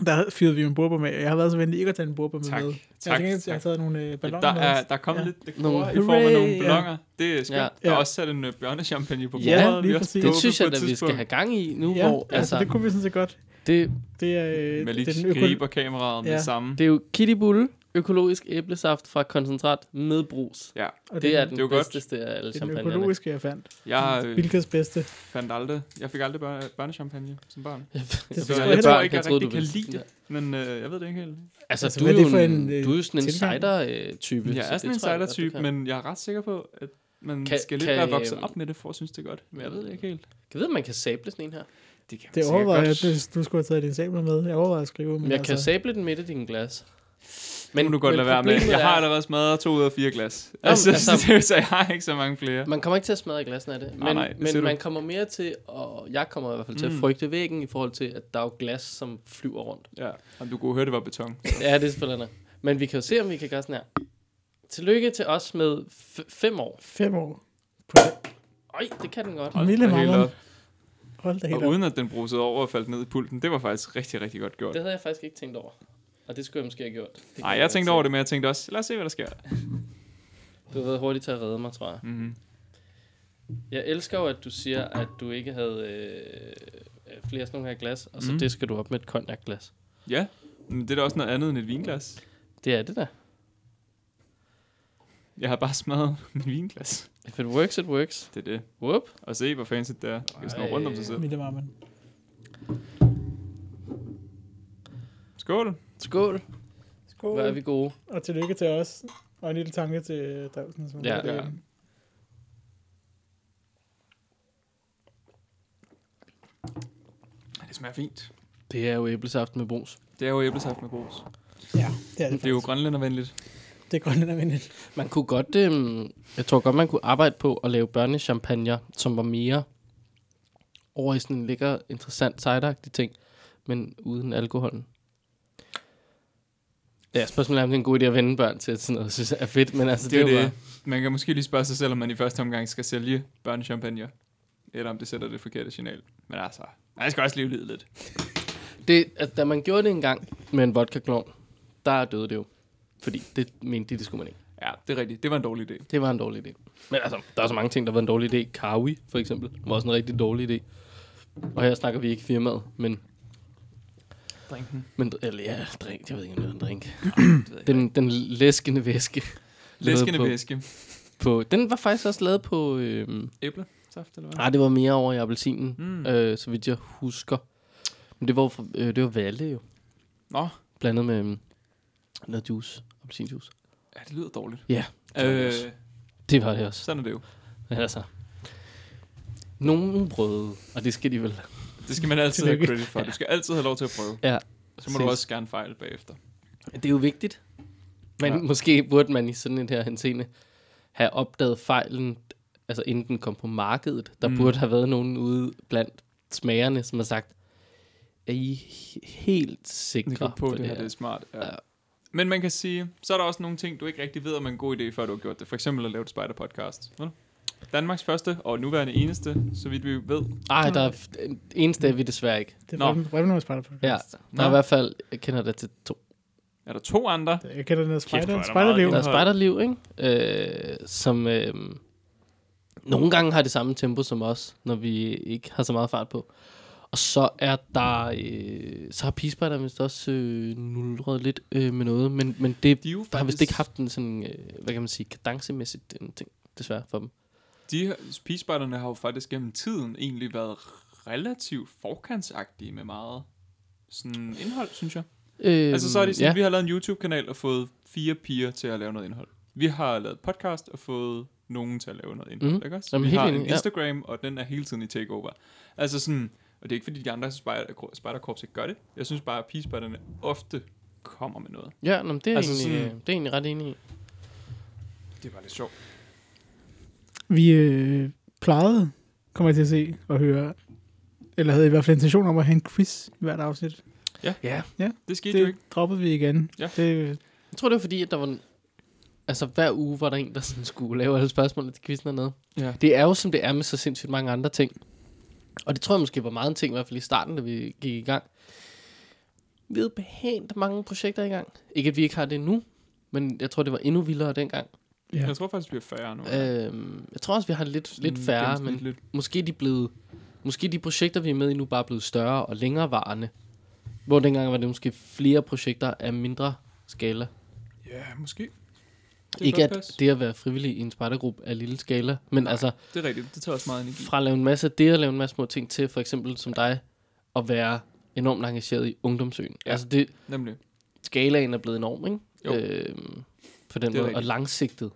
der fyrede vi jo en burber med. Jeg har været så venlig ikke at tage en burber med. Tak. med. Jeg, Tak, tænker, jeg har tak. taget nogle øh, Ja, balloner der, er, med. der er kommet Ja. ja. lidt dekor Nogle- i form af nogle Hooray, ja. balloner. Det er skønt. Ja. Ja. Der er Ja. også sat en uh, bjørnechampagne på Ja, bordet. lige vi også præcis. Det dåbet synes på jeg, et at vi skal tidspunkt. have gang i nu, Ja, hvor altså, det kunne vi sådan set godt. det, Det, Det er, øh, Malik det er den griber kameraet med Ja. det samme. det er jo Kitty Bulle, økologisk æblesaft fra koncentrat med brus. Ja, og Det er den, den det er jo godt. bedste af alle det er den champagnerne. økologiske, jeg fandt. jeg øh, Bilkas bedste. fandt aldrig, jeg fik aldrig børne, børnechampagne som barn. Jeg Det ved- tror jeg jeg, jeg heller tror ikke. ikke, Jeg jeg, troede, du rigtig kan vidste. lide det, men øh, jeg ved det ikke helt. Altså, Altså, du, hvad er er det jo for en, en, øh, du er jo sådan en tilgang? cider-type. Jeg er sådan en cider-type, men jeg er ret sikker på, at man Kan- kan, skal lidt kan, være vokset øhm, op med det, for at synes, det er godt. Men jeg ved det ikke helt. Jeg ved, om man kan sable sådan en her. Det kan Det overvejer jeg, hvis du skulle have taget din sabler med. Jeg overvejer at skrive, men Men jeg altså, kan sable den midt i din glas. Men, nu godt lade være med. problemet Jeg har er- allerede smadret to ud af fire glas. Jamen, Altså, altså- altså, så jeg har ikke så mange flere. Man kommer ikke til at smadre glassen af det, men, Ah, Nej, nej, det siger men du. man kommer mere til, og jeg kommer i hvert fald til at Mm. frygte væggen i forhold til, at der er jo glas, som flyver rundt. Ja, og du kunne høre, det var beton. ja, det er selvfølgelig nok. Men vi kan jo se, om vi kan gøre sådan her. Tillykke til os med f- fem år. fem år. Øj, det kan den godt. Hold Milde da helt mammon. op. Hold da helt Og op. uden at den brusede over og faldt ned i pulten, det var faktisk rigtig, rigtig godt gjort. Det havde jeg faktisk ikke tænkt over. Og det skulle jeg måske have gjort. Det kan Nej, jeg godt tænkte se. over det, men jeg tænkte også, lad os se, hvad der sker. Du har været hurtigt til at redde mig, tror jeg. Mm-hmm. Jeg elsker jo, at du siger, at du ikke havde øh, flere sådan nogle her glas, og så mm. Mm. det skal du op med et konjakglas. Ja, men det er da også noget andet end et vinglas. Det er det der. Jeg har bare smadret mit vinglas. If it works, it works. Det er det. Whoop. Og se, hvor fancy det er. Jeg kan snurre rundt om sig selv. Milde mammon. Skål. Skål. Hvor er Skål. vi gode. Og tillykke til os. Og en lille tanke til øh, Drevsen, som Ja. var Ja. derinde. Det smager fint. Det er jo æblesaft med brus. Det er jo æblesaft med brus. ja. det er det, Det er jo faktisk. grønlændervenligt. Det er grønlændervenligt. Man kunne godt, øhm, jeg tror godt, man kunne arbejde på at lave børnechampagne, som var mere over i sådan en lækker, interessant, cideragtig ting, men uden alkoholen. Ja, spørgsmålet er, om det er en god idé at vende børn til at sådan noget, synes jeg er fedt, men altså, Det er jo bare- det. Man kan måske lige spørge sig selv, om man i første omgang skal sælge børnechampagne, eller om det sætter det forkerte signal. Men altså, man skal også leve livet lidt. Det, altså, da man gjorde det engang med en vodka klovn, der døde det jo. Fordi det mente de, det skulle man ikke. Ja, det er rigtigt. Det var en dårlig idé. Det var en dårlig idé. Men altså, der er så mange ting, der var en dårlig idé. Kawi, for eksempel, var også en rigtig dårlig idé. Og her snakker vi ikke firmaet, men... Drinken. men eller, ja, drink. Jeg ved ikke, om det var en drink. jeg den, den læskende væske. Læskende Lavet på, væske. på, Den var faktisk også lavet på... Øhm, Æble? Saft, eller hvad? nej, det var mere over i appelsinen, Mm. mm. øh, så vidt jeg husker. Men det var, jo fra- øh, det var Valle jo, Nå, blandet med øhm, noget juice, appelsinjuice. ja, det lyder dårligt. Ja, det var det Øh, også. Det var det også. sådan er det jo. Men altså, nogen brød, og det skal de vel. Det skal man altid have Tillykke. credit for. Du skal altid have lov til at prøve. Ja. Så må du Præcis. også gerne fejle bagefter. Det er jo vigtigt. Men ja. Ja. måske burde man i sådan et her henseende have opdaget fejlen, altså inden den kom på markedet. Der mm. Mm. burde have været nogen ude blandt smagerne, som har sagt, er I he- helt Det sikre kan på, det her det er smart. Ja. Ja. Men man kan sige, så er der også nogle ting, du ikke rigtig ved, om er en god idé, før du har gjort det. For eksempel at lave et spider-podcast. Vel? Danmarks første og nuværende eneste, så vidt vi ved. Ej, der er f- eneste er vi desværre ikke. Det Nå. er Revnummer Spider Podcast. Ja, der er i hvert fald, jeg kender der til to. Er der to andre? Jeg kender den her hvor er der spider, meget spiderliv. Der er indhold. spejderliv, ikke? Øh, som øh, nogle gange har det samme tempo som os, når vi ikke har så meget fart på. Og så er der, øh, så har pigespejder vist også øh, nulret lidt øh, med noget, men, men det De, er jo der har vist faktisk- ikke haft en sådan, øh, hvad kan man sige, kadencemæssigt en ting, desværre for dem. De pigespejderne har jo faktisk gennem tiden egentlig været relativt forkantsagtige med meget sådan indhold, synes jeg. Øh, Altså så er det sådan, ja. vi har lavet en YouTube-kanal og fået fire piger til at lave noget indhold. Vi har lavet podcast og fået nogen til at lave noget indhold, Mhm. mm. ikke også? Jamen, vi helt har enig, en ja. Instagram, og den er hele tiden i takeover. Altså sådan, og det er ikke fordi de andre spider- spejderkorps ikke gør det. Jeg synes bare, at pigespejderne ofte kommer med noget. Ja, nå, men det, er altså altså egentlig, sådan- sådan, det er egentlig ret enig i. Det var lidt sjovt. Vi øh, plejede, kommer jeg til at se og høre, eller havde i hvert fald intention om at have en quiz i hvert afsnit. Ja. Det skete det... jo Det ikke. droppede vi igen. Ja. Det, Jeg tror, det var fordi, at der var... en- Altså, hver uge var der en, der sådan skulle lave alle spørgsmålene til quizzen hernede. Ja. Det er jo, som det er med så sindssygt mange andre ting. Og det tror jeg måske var meget en ting, i hvert fald i starten, da vi gik i gang. Vi havde behændt mange projekter i gang. Ikke, at vi ikke har det nu, men jeg tror, det var endnu vildere dengang. ja. Jeg tror faktisk, vi er færre nu. Øhm, jeg tror også, vi har lidt, lidt Sådan færre, men Mm, gennemsnitligt. måske de, blevet, måske de projekter, vi er med i nu, bare er blevet større og længerevarende. Hvor dengang var det måske flere projekter af mindre skala. Ja, måske. Det Det ikke kan at godt passe. det at være frivillig i en spartagruppe er lille skala, men Nej. altså Det er rigtigt. Det tager også meget energi. fra at lave en masse af det at lave en masse små ting til, for eksempel som dig, at være enormt engageret i ungdomsøen. Ja. Ja. Altså det, Nemlig. skalaen er blevet enorm, ikke? Jo. Øhm, på den Det er måde, og rigtigt. langsigtet.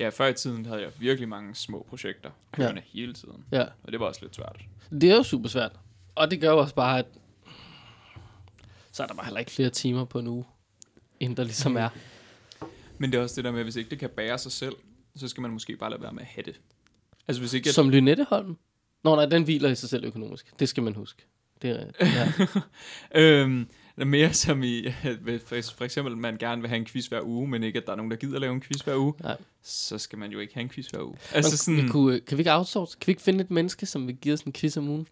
Ja, før i tiden havde jeg virkelig mange små projekter. Ja. Kørende ja. hele tiden. Ja. Og det var også lidt svært. Det er jo super svært. Og det gør jo også bare, at så er der bare heller ikke flere timer på en uge, end der ligesom er. Men det er også det der med, at hvis ikke det kan bære sig selv, så skal man måske bare lade være med at have det. Altså hvis ikke... Jeg... Som Lynetteholm. Nå nej, den hviler i sig selv økonomisk. Det skal man huske. Det er, ja. Øhm, eller mere som i, at hvis for- for eksempel, man gerne vil have en quiz hver uge, men ikke, at der er nogen, der gider lave en quiz hver uge, Nej. så skal man jo ikke have en quiz hver uge. Altså Altså sådan... vi sådan, kunne, kan vi ikke outsource? Kan vi ikke finde et menneske, som vil give os en quiz om ugen?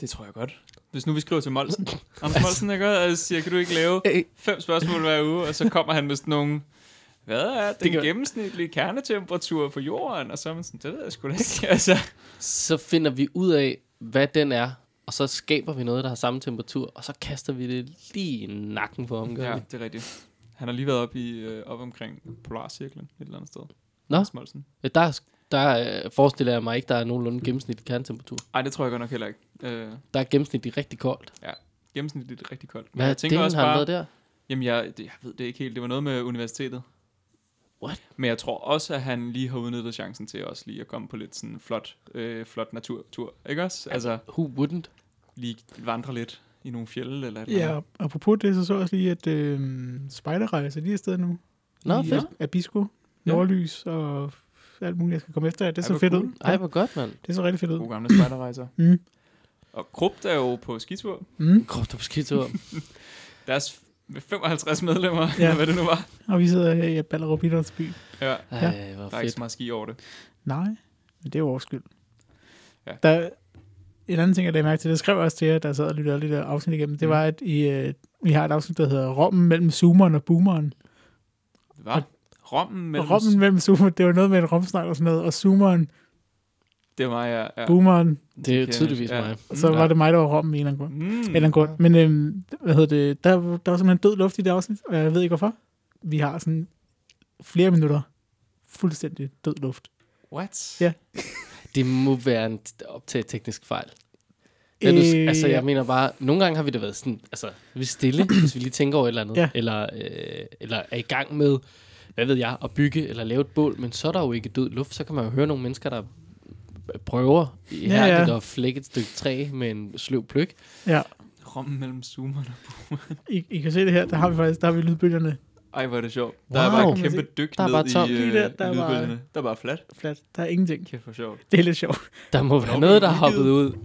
det tror jeg godt. Altså. Hvis nu vi skriver til Molsen, Anders Molsen, jeg godt, og siger, kan du ikke lave Øh. fem spørgsmål hver uge, og så kommer han med sådan nogle, hvad er den kan- gennemsnitlige kernetemperatur på jorden? Og så er man sådan, det ved jeg sgu da ikke. Altså, Så finder vi ud af, hvad den er, og så skaber vi noget, der har samme temperatur, og så kaster vi det lige i nakken på ham. ja, Ja. det er rigtigt. Han har lige været op, i, øh, op omkring Polarcirklen et eller andet sted. Nå. Anders Molsen. Øh, Der, er- der øh, forestiller jeg mig ikke, der er nogenlunde gennemsnitlig kerntemperatur. Ej, det tror jeg godt nok heller ikke. Øh, Der er gennemsnitligt rigtig koldt. gennemsnitligt rigtig koldt. Men Hvad jeg tænker delen også har bare, han været der? Jamen, jeg, det, jeg ved det ikke helt. Det var noget med universitetet. What? Men jeg tror også, at han lige har udnyttet chancen til også lige at komme på lidt sådan flot, øh, flot naturtur. Ikke også? Altså, Who wouldn't? lige vandre lidt i nogle fjelle eller et eller andet. Ja, og apropos det, så så jeg også lige, at øh, Spejderrejse, de er afsted nu. Nå, I fedt. Abisko, Ja. Nordlys og alt muligt, jeg skal komme efter. Det er Ej, så hvor fedt cool. ud. Ej, hvor godt, mand. Det er så rigtig fedt ud. Gode gamle spejderrejser. Mm. Og Krupp, der er jo på skitur. Mm. Krop, du skitur. Deres f- 55 medlemmer, ja. Ja. eller hvad det nu var. Og vi sidder her i Ballerup Idrætsby. Ja, Ej, hvor der er ikke fedt. så meget ski over det. Nej, men det er jo vores skyld. Ja. Ja. Der, en anden ting, jeg lagde mærke til, det skrev jeg også til jer, der sad og lyttede alle de der afsnit igennem, det Mm. var, at I, øh, I har et afsnit, der hedder Rommen mellem zoomeren og boomeren. Hvad? Rommen mellem... Og rommen mellem zoomeren, det var noget med en romsnak og sådan noget, og zoomeren, Det var jeg. Ja. ja. boomeren, Det er jo tydeligvis Ja. mig. Uh. og så Mm, ja. ja. var det mig, der var rommen i en eller anden grund. Mm. Mm. Eller anden grund. Men øhm, hvad hedder det, der, der var simpelthen død luft i det afsnit, og jeg ved ikke hvorfor. Vi har sådan flere minutter fuldstændig død luft. What? Ja. Det må være en t- optaget teknisk fejl. Ja, Øh, du, altså, jeg mener bare, nogle gange har vi da været sådan, altså, vi er stille, hvis vi lige tænker over et eller andet, Ja. eller, øh, eller er i gang med, hvad ved jeg, at bygge eller lave et bål, men så er der jo ikke død luft, så kan man jo høre nogle mennesker, der prøver ja, ja. ja. at flække et stykke træ med en sløv pløk. ja. Rommen mellem zoomerne. I, I, kan se det her, der har vi faktisk, der har vi lydbølgerne Ej, hvor er det sjovt. Der er Wow. bare Kan et man kæmpe se. dyk Der er ned bare tomt. i, øh, Lige der, der, der der i var- lydbølgerne. Der er bare flat. flat. Der er ingenting. Kæft for sjovt. Det er lidt sjovt. Der må være Nå, noget, men der er hoppet udgivet. ud.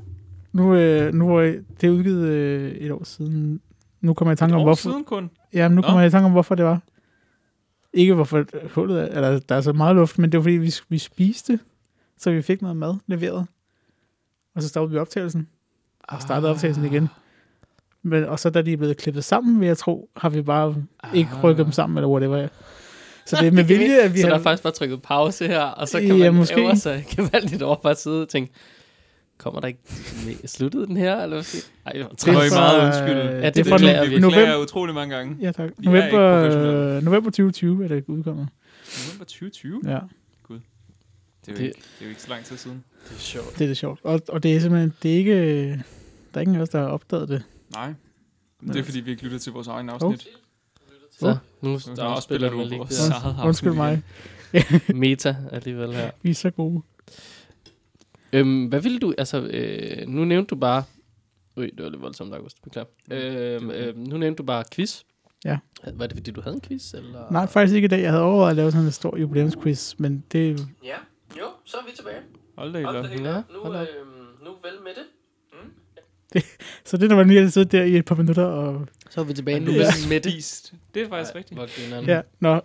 Nu, øh, nu hvor jeg- det er udgivet øh, et år siden. Nu kommer jeg i tanke om, År hvorfor... siden kun. Ja, nu Nå. kommer jeg i tanke om, hvorfor det var. Ikke hvorfor hullet er, eller der er så meget luft, men det var fordi, vi, vi spiste, så vi fik noget mad leveret. Og så stoppede vi optagelsen, og Ah, startede optagelsen igen. Men, og så da de er blevet klippet sammen, vil jeg tro, har vi bare ikke rykket dem sammen, eller whatever. Så det er med Ah, Det kan vilje, at vi så der har... er faktisk bare trykket pause her, og så kan Ja, man måske. måske. øve sig gevaldigt over bare at sidde og tænke, kommer der ikke me- sluttede den her, eller hvad sker der? Ej, hvor Det trist. er fra- meget undskyld. Ja, det Det beklager er vi. vi beklager November- utrolig mange gange. Ja, tak. Vi er ikke November, professionelle. november 2020 er det udkommet. November 2020? Ja. Det er jo, Det- ikke, det er jo ikke så lang tid siden. Det er sjovt. Det er det sjovt. Og, og det er simpelthen, det er ikke, der er ingen af os, der har opdaget det. Nej. Men det er Men- fordi, vi ikke lytter til vores egen afsnit. Så, nu Nu afspiller du vores lige vores det eget afsnit Undskyld mig, igen. der meta alligevel her. vi er så gode. Øhm, hvad ville du, altså, øh, nu nævnte du bare, Øj, det var lidt voldsomt, August, beklager. Øhm, øhm, nu nævnte du bare quiz. Ja. Var det fordi, du havde en quiz, eller? Nej, faktisk ikke i dag. Jeg havde overvejet at lave sådan en stor jubilæumsquiz, men det, Ja, jo, så er vi tilbage. Hold da i lov. helt Ja, op. hold da op. øhm, nu vel med det. så det, der var lige at sidde der i et par minutter og... Så er vi tilbage nu Nu vel er med det. spist. Det er faktisk rigtigt. Hvor grineren. Ja, nå.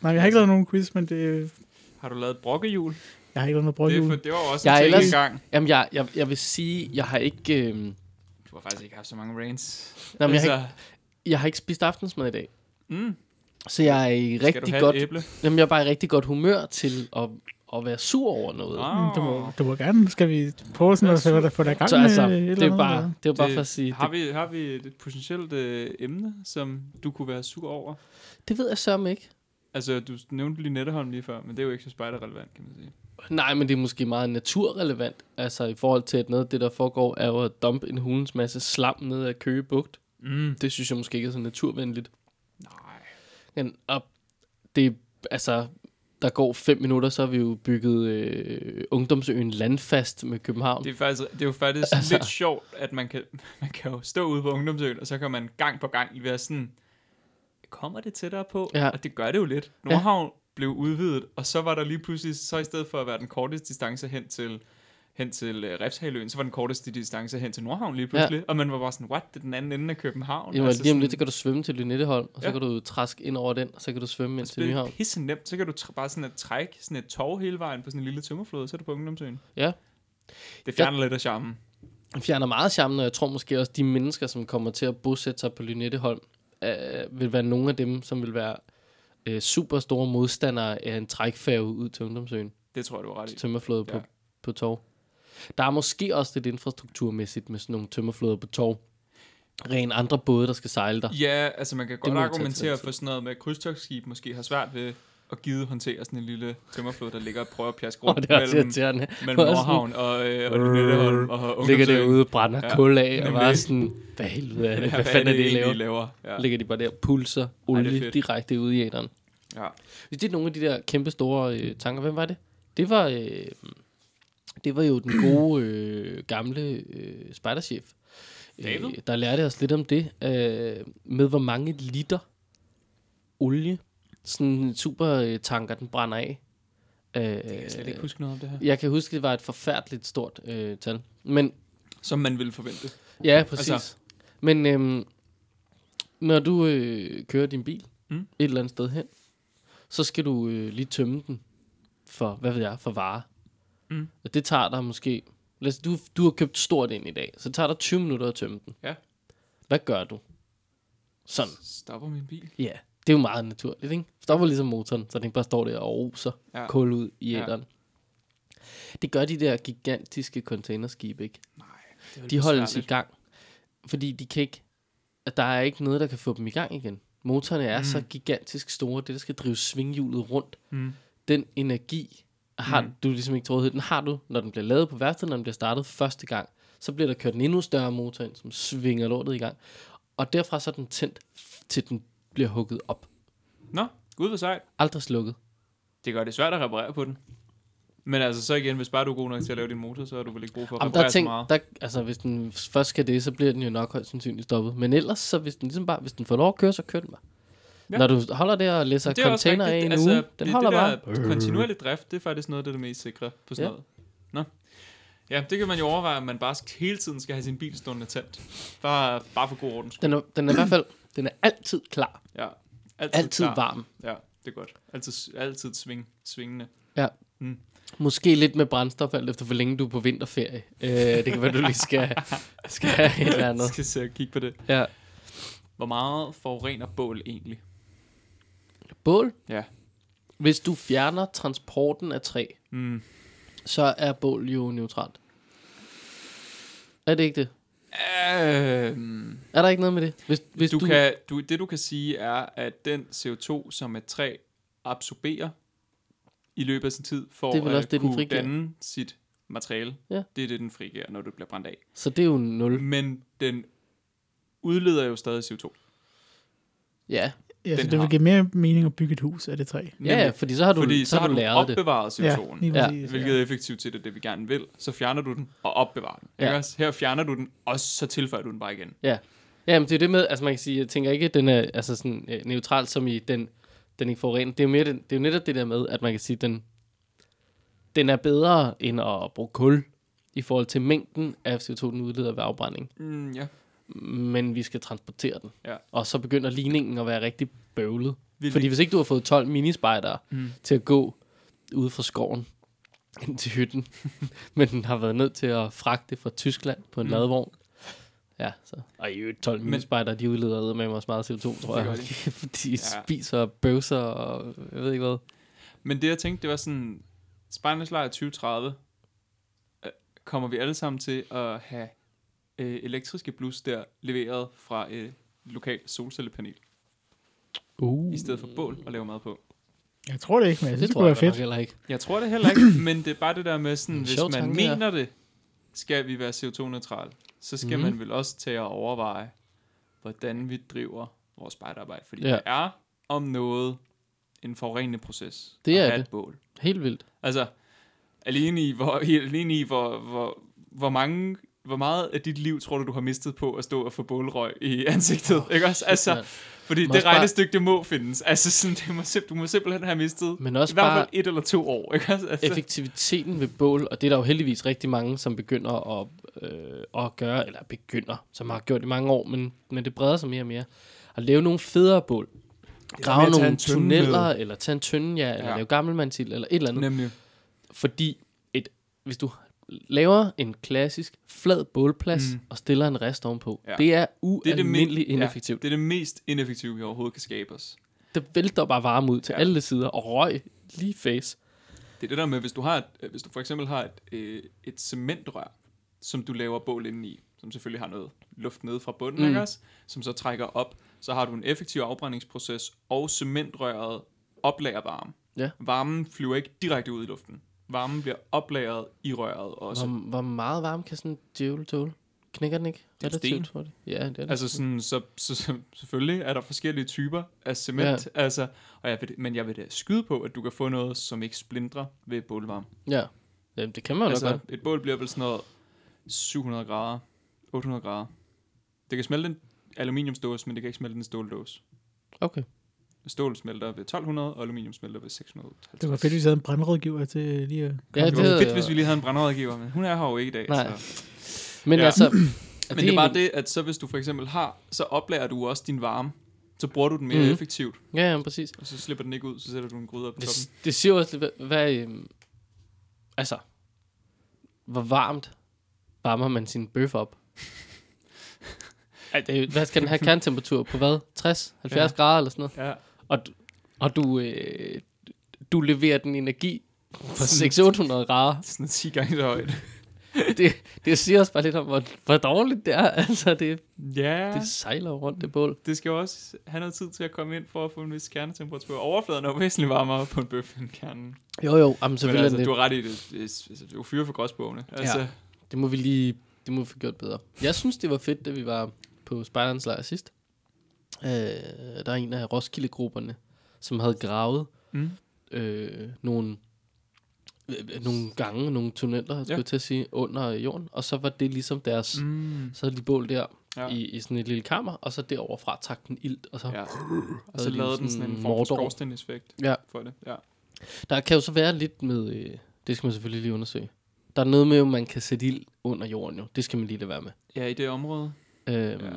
Nej, jeg har ikke lavet nogen quiz, men det, Har du lavet et brokkehjul? jeg har ikke lavet noget Det, er brødhjul. for, det var jo også Jeg er en ting ellers- engang. Jamen, jeg, jeg, jeg vil sige, jeg har ikke, øhm, Du har faktisk ikke haft så mange rains. jamen, jeg, har ikke, jeg har ikke spist aftensmad i dag. mm, Så jeg er i skal du rigtig have godt, et æble? jamen, jeg er bare i rigtig godt humør til at, at være sur over noget. Ah. Mm, du, Wow. må, du må gerne. Skal vi prøve sådan at se, hvad der får dig i gang Så altså, øh, med et det eller er jo andet, bare, eller? det er jo bare Det- for at sige, Har det, vi, har vi et potentielt øh, emne, som du kunne være sur over? det ved jeg sørme ikke. Altså, du nævnte lige Netteholm lige før, men det er jo ikke så spejderrelevant, kan man sige. Nej, men det er måske meget naturrelevant, altså i forhold til, at noget af det, der foregår, er jo at dumpe en hulens masse slam ned ad Køge Bugt. Mm. Det synes jeg måske ikke er så naturvenligt. Nej. Men op, det, altså, der går fem minutter, så har vi jo bygget øh, ungdomsøen landfast med København. Det er, faktisk, det er jo faktisk Altså. altså. lidt sjovt, at man kan, man kan jo stå ude på ungdomsøen, og så kan man gang på gang være sådan, kommer det tættere på? Ja. Og det gør det jo lidt. Nordhavn ja. blev udvidet, og så var der lige pludselig, så i stedet for at være den korteste distance hen til hen til uh, Refshaløen, så var den korteste distance hen til Nordhavn lige pludselig, ja. og man var bare sådan, what, det er den anden ende af København. Altså Jamen, lige om sådan- lidt, så kan du svømme til Lynetteholm, og så Ja. kan du træske ind over den, og så kan du svømme ind Så til det er Nyhavn. pisse nemt. Så kan du tr- bare sådan at trække sådan et tov hele vejen på sådan en lille tømmerflod, så er du på ungdomsøen. Ja. Det fjerner ja. lidt af charmen. Det fjerner meget charmen, og jeg tror måske også, de mennesker, som kommer til at bosætte sig på Lynetteholm, øh, vil være nogle af dem, som vil være øh, super store modstandere af en trækfærge ud til Ungdomsøen, Det tror jeg, du er ret i. til tømmerflåde på, Ja. på torv. Der er måske også lidt infrastrukturmæssigt med sådan nogle tømmerflåder på torv. Ren andre både, der skal sejle der. Ja, altså man kan må godt vi tage til argumentere den tid. for sådan noget med, at krydstogsskib måske har svært ved at give håndtere sådan en lille tømmerflod, der ligger og prøver at pjaske Og rundt det er også mellem, irriterende. mellem Hvor jeg Nordhavn og, øh, og Lynetteholm og Ligger Ungdomsøen. derude, brænder Ja, ja, kul af, og nemlig. bare sådan, hvad helvede er Ja, det? Hvad fanden er det, I laver? laver? Ja. Ja. Ligger de bare der og pulser olie fedt. direkte ud i æderen. ja. Hvis det er nogle af de der kæmpe store øh, tanker, hvem var det? Det var, øh, det var jo den gode øh, gamle øh, spejderchef, Øh, David? der lærte os lidt om det, øh, med hvor mange liter olie, sådan en super øh, tanker, den brænder af. Øh, Jeg kan slet ikke huske noget om det her. jeg kan huske, det var et forfærdeligt stort øh, tal. Men Som man ville forvente. Ja, præcis. Altså- Altså. Men øhm, når du øh, kører din bil Mm. mm. et eller andet sted hen, så skal du øh, lige tømme den for, hvad ved jeg, for varer. Mm. Og det tager dig måske... Lad os, du, du har købt stort ind i dag, så det tager dig 20 minutter at tømme den. Ja. Hvad gør du? Sådan. Stopper min bil. Ja, det er jo meget naturligt, ikke? Stopper ligesom motoren, så den ikke bare står der og roser Ja. ja. kul ud i Ja. æderen. Det gør de der gigantiske containerskibe, ikke? Nej, det var De holdes i gang, fordi de kan ikke, at der er ikke noget, der kan få dem i gang igen. Motorerne er mm. så gigantisk store, det der skal drive svinghjulet rundt. Mm. Den energi har mm. du ligesom ikke troet, den har du, når den bliver lavet på værftet, når den bliver startet første gang. Så bliver der kørt en endnu større motor ind, som svinger lortet i gang. Og derfra så er den tændt, til den bliver hugget op. Nå, gud hvor sejt. Aldrig slukket. det gør det svært at reparere på den. Men altså så igen, hvis bare du er god nok til at lave din motor, så har du vel ikke brug for at Jamen, reparere der er så ting, meget. der, altså, hvis den først skal det, så bliver den jo nok højst sandsynligt stoppet. Men ellers, så hvis den ligesom bare, hvis den får lov at køre, så kører den bare. Ja. Ja. Når du holder der og læser Det er også container af en rigtigt. altså, uge, den det, holder det bare. der kontinuerlig drift, det er faktisk noget af det, der er mest sikre på sådan Ja. noget. Nå. Ja, det kan man jo overveje, at man bare sk- hele tiden skal have sin bil stående tændt. Bare, bare for god ordens skyld. Den er, den er i hvert fald den er altid klar. Ja. Altid Altså, klar. varm. Ja, det er godt. Altid, s- altid sving, svingende. Ja. Mm. Mm. Måske lidt med brændstof, alt efter hvor længe du er på vinterferie. Øh, det kan være, du lige skal, skal have et eller andet. Jeg skal se og kigge på det. Ja. Hvor meget forurener bål egentlig? Bål? Ja. Hvis du fjerner transporten af træ, Mm. så er bål jo neutralt. Er det ikke det? Øhm. Er der ikke noget med det? Hvis, Hvis hvis du, du... Kan, du, det du kan sige er, at den CO2, som et træ absorberer i løbet af sin tid, for Det er vel at også det, den kunne frigiver. danne sit materiale, Ja. det er det, den frigiver, når du bliver brændt af. Så det er jo nul. Men den udleder jo stadig CO2. Ja, Ja, så den det har- vil give mere mening at bygge et hus af det træ. ja, ja fordi så har du, fordi så har du læret det. opbevaret Ja, CO2'en, lige Ja, præcis, ja. hvilket er effektivt til det, det vi gerne vil. Så fjerner du den og opbevarer den. Ja. Ja. Her fjerner du den, og så tilføjer du den bare igen. Ja. ja, men det er det med, altså man kan sige, jeg tænker ikke, at den er altså sådan, øh, neutral, som i den, den ikke forurener. Det er, jo mere, den, det er jo netop det der med, at man kan sige, den, den er bedre end at bruge kul i forhold til mængden af CO2, den udleder ved afbrænding. Mm, ja. Men vi skal transportere den. Ja. Og så begynder ligningen at være rigtig bøvlet. Vildt. Fordi hvis ikke du har fået 12 minispejdere Mm. mm. til at gå ude fra skoven ind til hytten, men den har været nødt til at fragte fra Tyskland på en mm. ladvogn. Ja, så. Og i øvrigt 12 minispejdere, de udleder med mig også meget CO2, tror Det jeg. gør de spiser og bøvser og jeg ved ikke hvad. Men det jeg tænkte, det var sådan, Spejlernes Lejr 2030 øh, kommer vi alle sammen til at have øh, elektriske blus der leveret fra øh, et lokalt solcellepanel, Uh. i stedet for bål at lave mad på. Jeg tror det ikke, men jeg synes, det, det kunne være fedt. heller ikke. Jeg tror det heller ikke, men det er bare det der med sådan, En hvis sjov man tanke, ja. mener det, skal vi være CO2-neutral, så skal Mhm. mm. man vel også tage og overveje, hvordan vi driver vores spejderarbejde. Fordi Ja. ja. det er om noget en forurenende proces. Det at er have det. Et bål. Helt vildt. Altså, alene i, hvor, alene i hvor, hvor, hvor mange hvor meget af dit liv tror du, du har mistet på at stå og få bålrøg i ansigtet, oh, ikke også? Altså, mand. fordi Men det også bare- regnestykke, det må findes. Altså, sådan, det må simp- du må simpelthen have mistet Men også i hvert fald bare- et eller to år, ikke også? Altså, Effektiviteten ved bål, og det er der jo heldigvis rigtig mange, som begynder at, øh, at gøre, eller begynder, som har gjort i mange år, men, men det breder sig mere og mere, at lave nogle federe bål. Grave at tage nogle en tønde tunneller, eller tage en tønde, ja, eller Ja. lave gammelmandsild, eller et eller andet. Nemlig. Fordi et, hvis du laver en klassisk flad bålplads mm. Mm. og stiller en rest ovenpå, ja. Ja. det er Det er det, me- ualmindeligt ineffektivt. Ja, det er det mest ineffektive, vi overhovedet kan skabe os. Ja. Det vælter bare varme ud til ja. Ja. alle sider og røg lige i face. Det er det der med, hvis du, har et, øh, hvis du for eksempel har et, øh, et cementrør, som du laver bål inde i, som selvfølgelig har noget luft nede fra bunden, Mm. mm. ikke også? som så trækker op, så har du en effektiv afbrændingsproces, og cementrøret oplager varme. Ja. Varmen flyver ikke direkte ud i luften. Varmen bliver oplagret i røret også. Hvor, hvor meget varme kan sådan en djævel tåle? Knækker den ikke? Det er en sten. tror det. Ja, det er det. Altså sådan, så, så, så selvfølgelig er der forskellige typer af cement, ja. altså, og jeg vil, men jeg vil da skyde på, at du kan få noget, som ikke splindrer ved bålvarme. Ja, Jamen, det kan man jo altså, Altså, godt. et bål bliver vel sådan noget 700 grader, 800 grader. Det kan smelte en aluminiumsdåse, men det kan ikke smelte en ståldåse. Okay. Stål smelter ved 1200, og aluminium smelter ved 650. Det var fedt, hvis vi havde en brandrådgiver til lige at... Ja, det var fedt, jeg- hvis vi lige havde en brandrådgiver, men hun er her jo ikke i dag. Nej. Så. Men Ja. altså... er Men det er bare egentlig- det, at så hvis du for eksempel har, så oplager du også din varme. Så bruger du den mere Mhm. mm. effektivt. Ja, jamen, præcis. Og så slipper den ikke ud, så sætter du en gryde op på toppen. Det, det siger jo også lidt, hvad, hvad øhm, altså, hvor varmt varmer man sin bøf op? Ej, det er, jo- hvad skal den have kerntemperatur på hvad? 60, 70 ja. grader eller sådan noget? Ja. Og, du- og du, øh, du leverer den energi på 600 grader. Sådan 10 gange så højt. Det, det siger også bare lidt om, hvor, hvor dårligt det er. Altså, det, Ja, det det, sejler jo rundt det bål. det skal jo også have noget tid til at komme ind for at få en vis kernetemperatur. Overfladen er jo væsentligt varmere på en bøf end kernen. Jo, jo, jamen, Men selvfølgelig altså, er det, du har ret i det. Det er, altså, det er jo fyre for gråsbogene. Altså, ja. det må vi lige det må vi få gjort bedre. Jeg synes, det var fedt, da vi var på Spejderens lejr sidst. Øh, der er en af Roskilde-grupperne, som havde gravet Mm. øh, nogle, øh, nogle gange, nogle tunneller, skulle Ja. ja. til at sige, under jorden. Og så var det ligesom deres... Mm. Mm. Så havde de bål der ja. Ja. i, i sådan et lille kammer, og så deroverfra tak den ilt. Og så, ja. ja. Og så lavede den sådan en form for Mordor. skorsteneffekt Ja. for det. Ja. Der kan jo så være lidt med... Øh, det skal man selvfølgelig lige undersøge. Der er noget med, at man kan sætte ild under jorden jo. Det skal man lige lade være med. ja, i det område. Øhm, ja. Ja.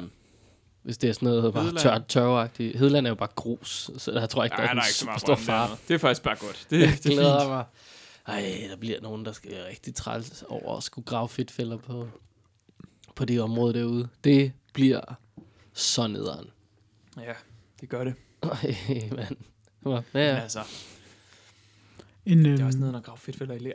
Hvis det er sådan noget bare Hedeland. tør, tørveagtigt. Hedeland er jo bare grus, så der tror jeg ikke, der, Ja, er, der sådan er ikke så super meget stor brænde far. dernede. Det er faktisk bare godt. Det, Jeg det er glæder fint. mig. Ej, der bliver nogen, der skal være rigtig træls over at skulle grave fedtfælder på, på det område derude. Det bliver så nederen. Ja, det gør det. Ej, mand. Nå, Ja. Ja, Altså, En, øhm, det er også nede, når grave fedtfælder i lær.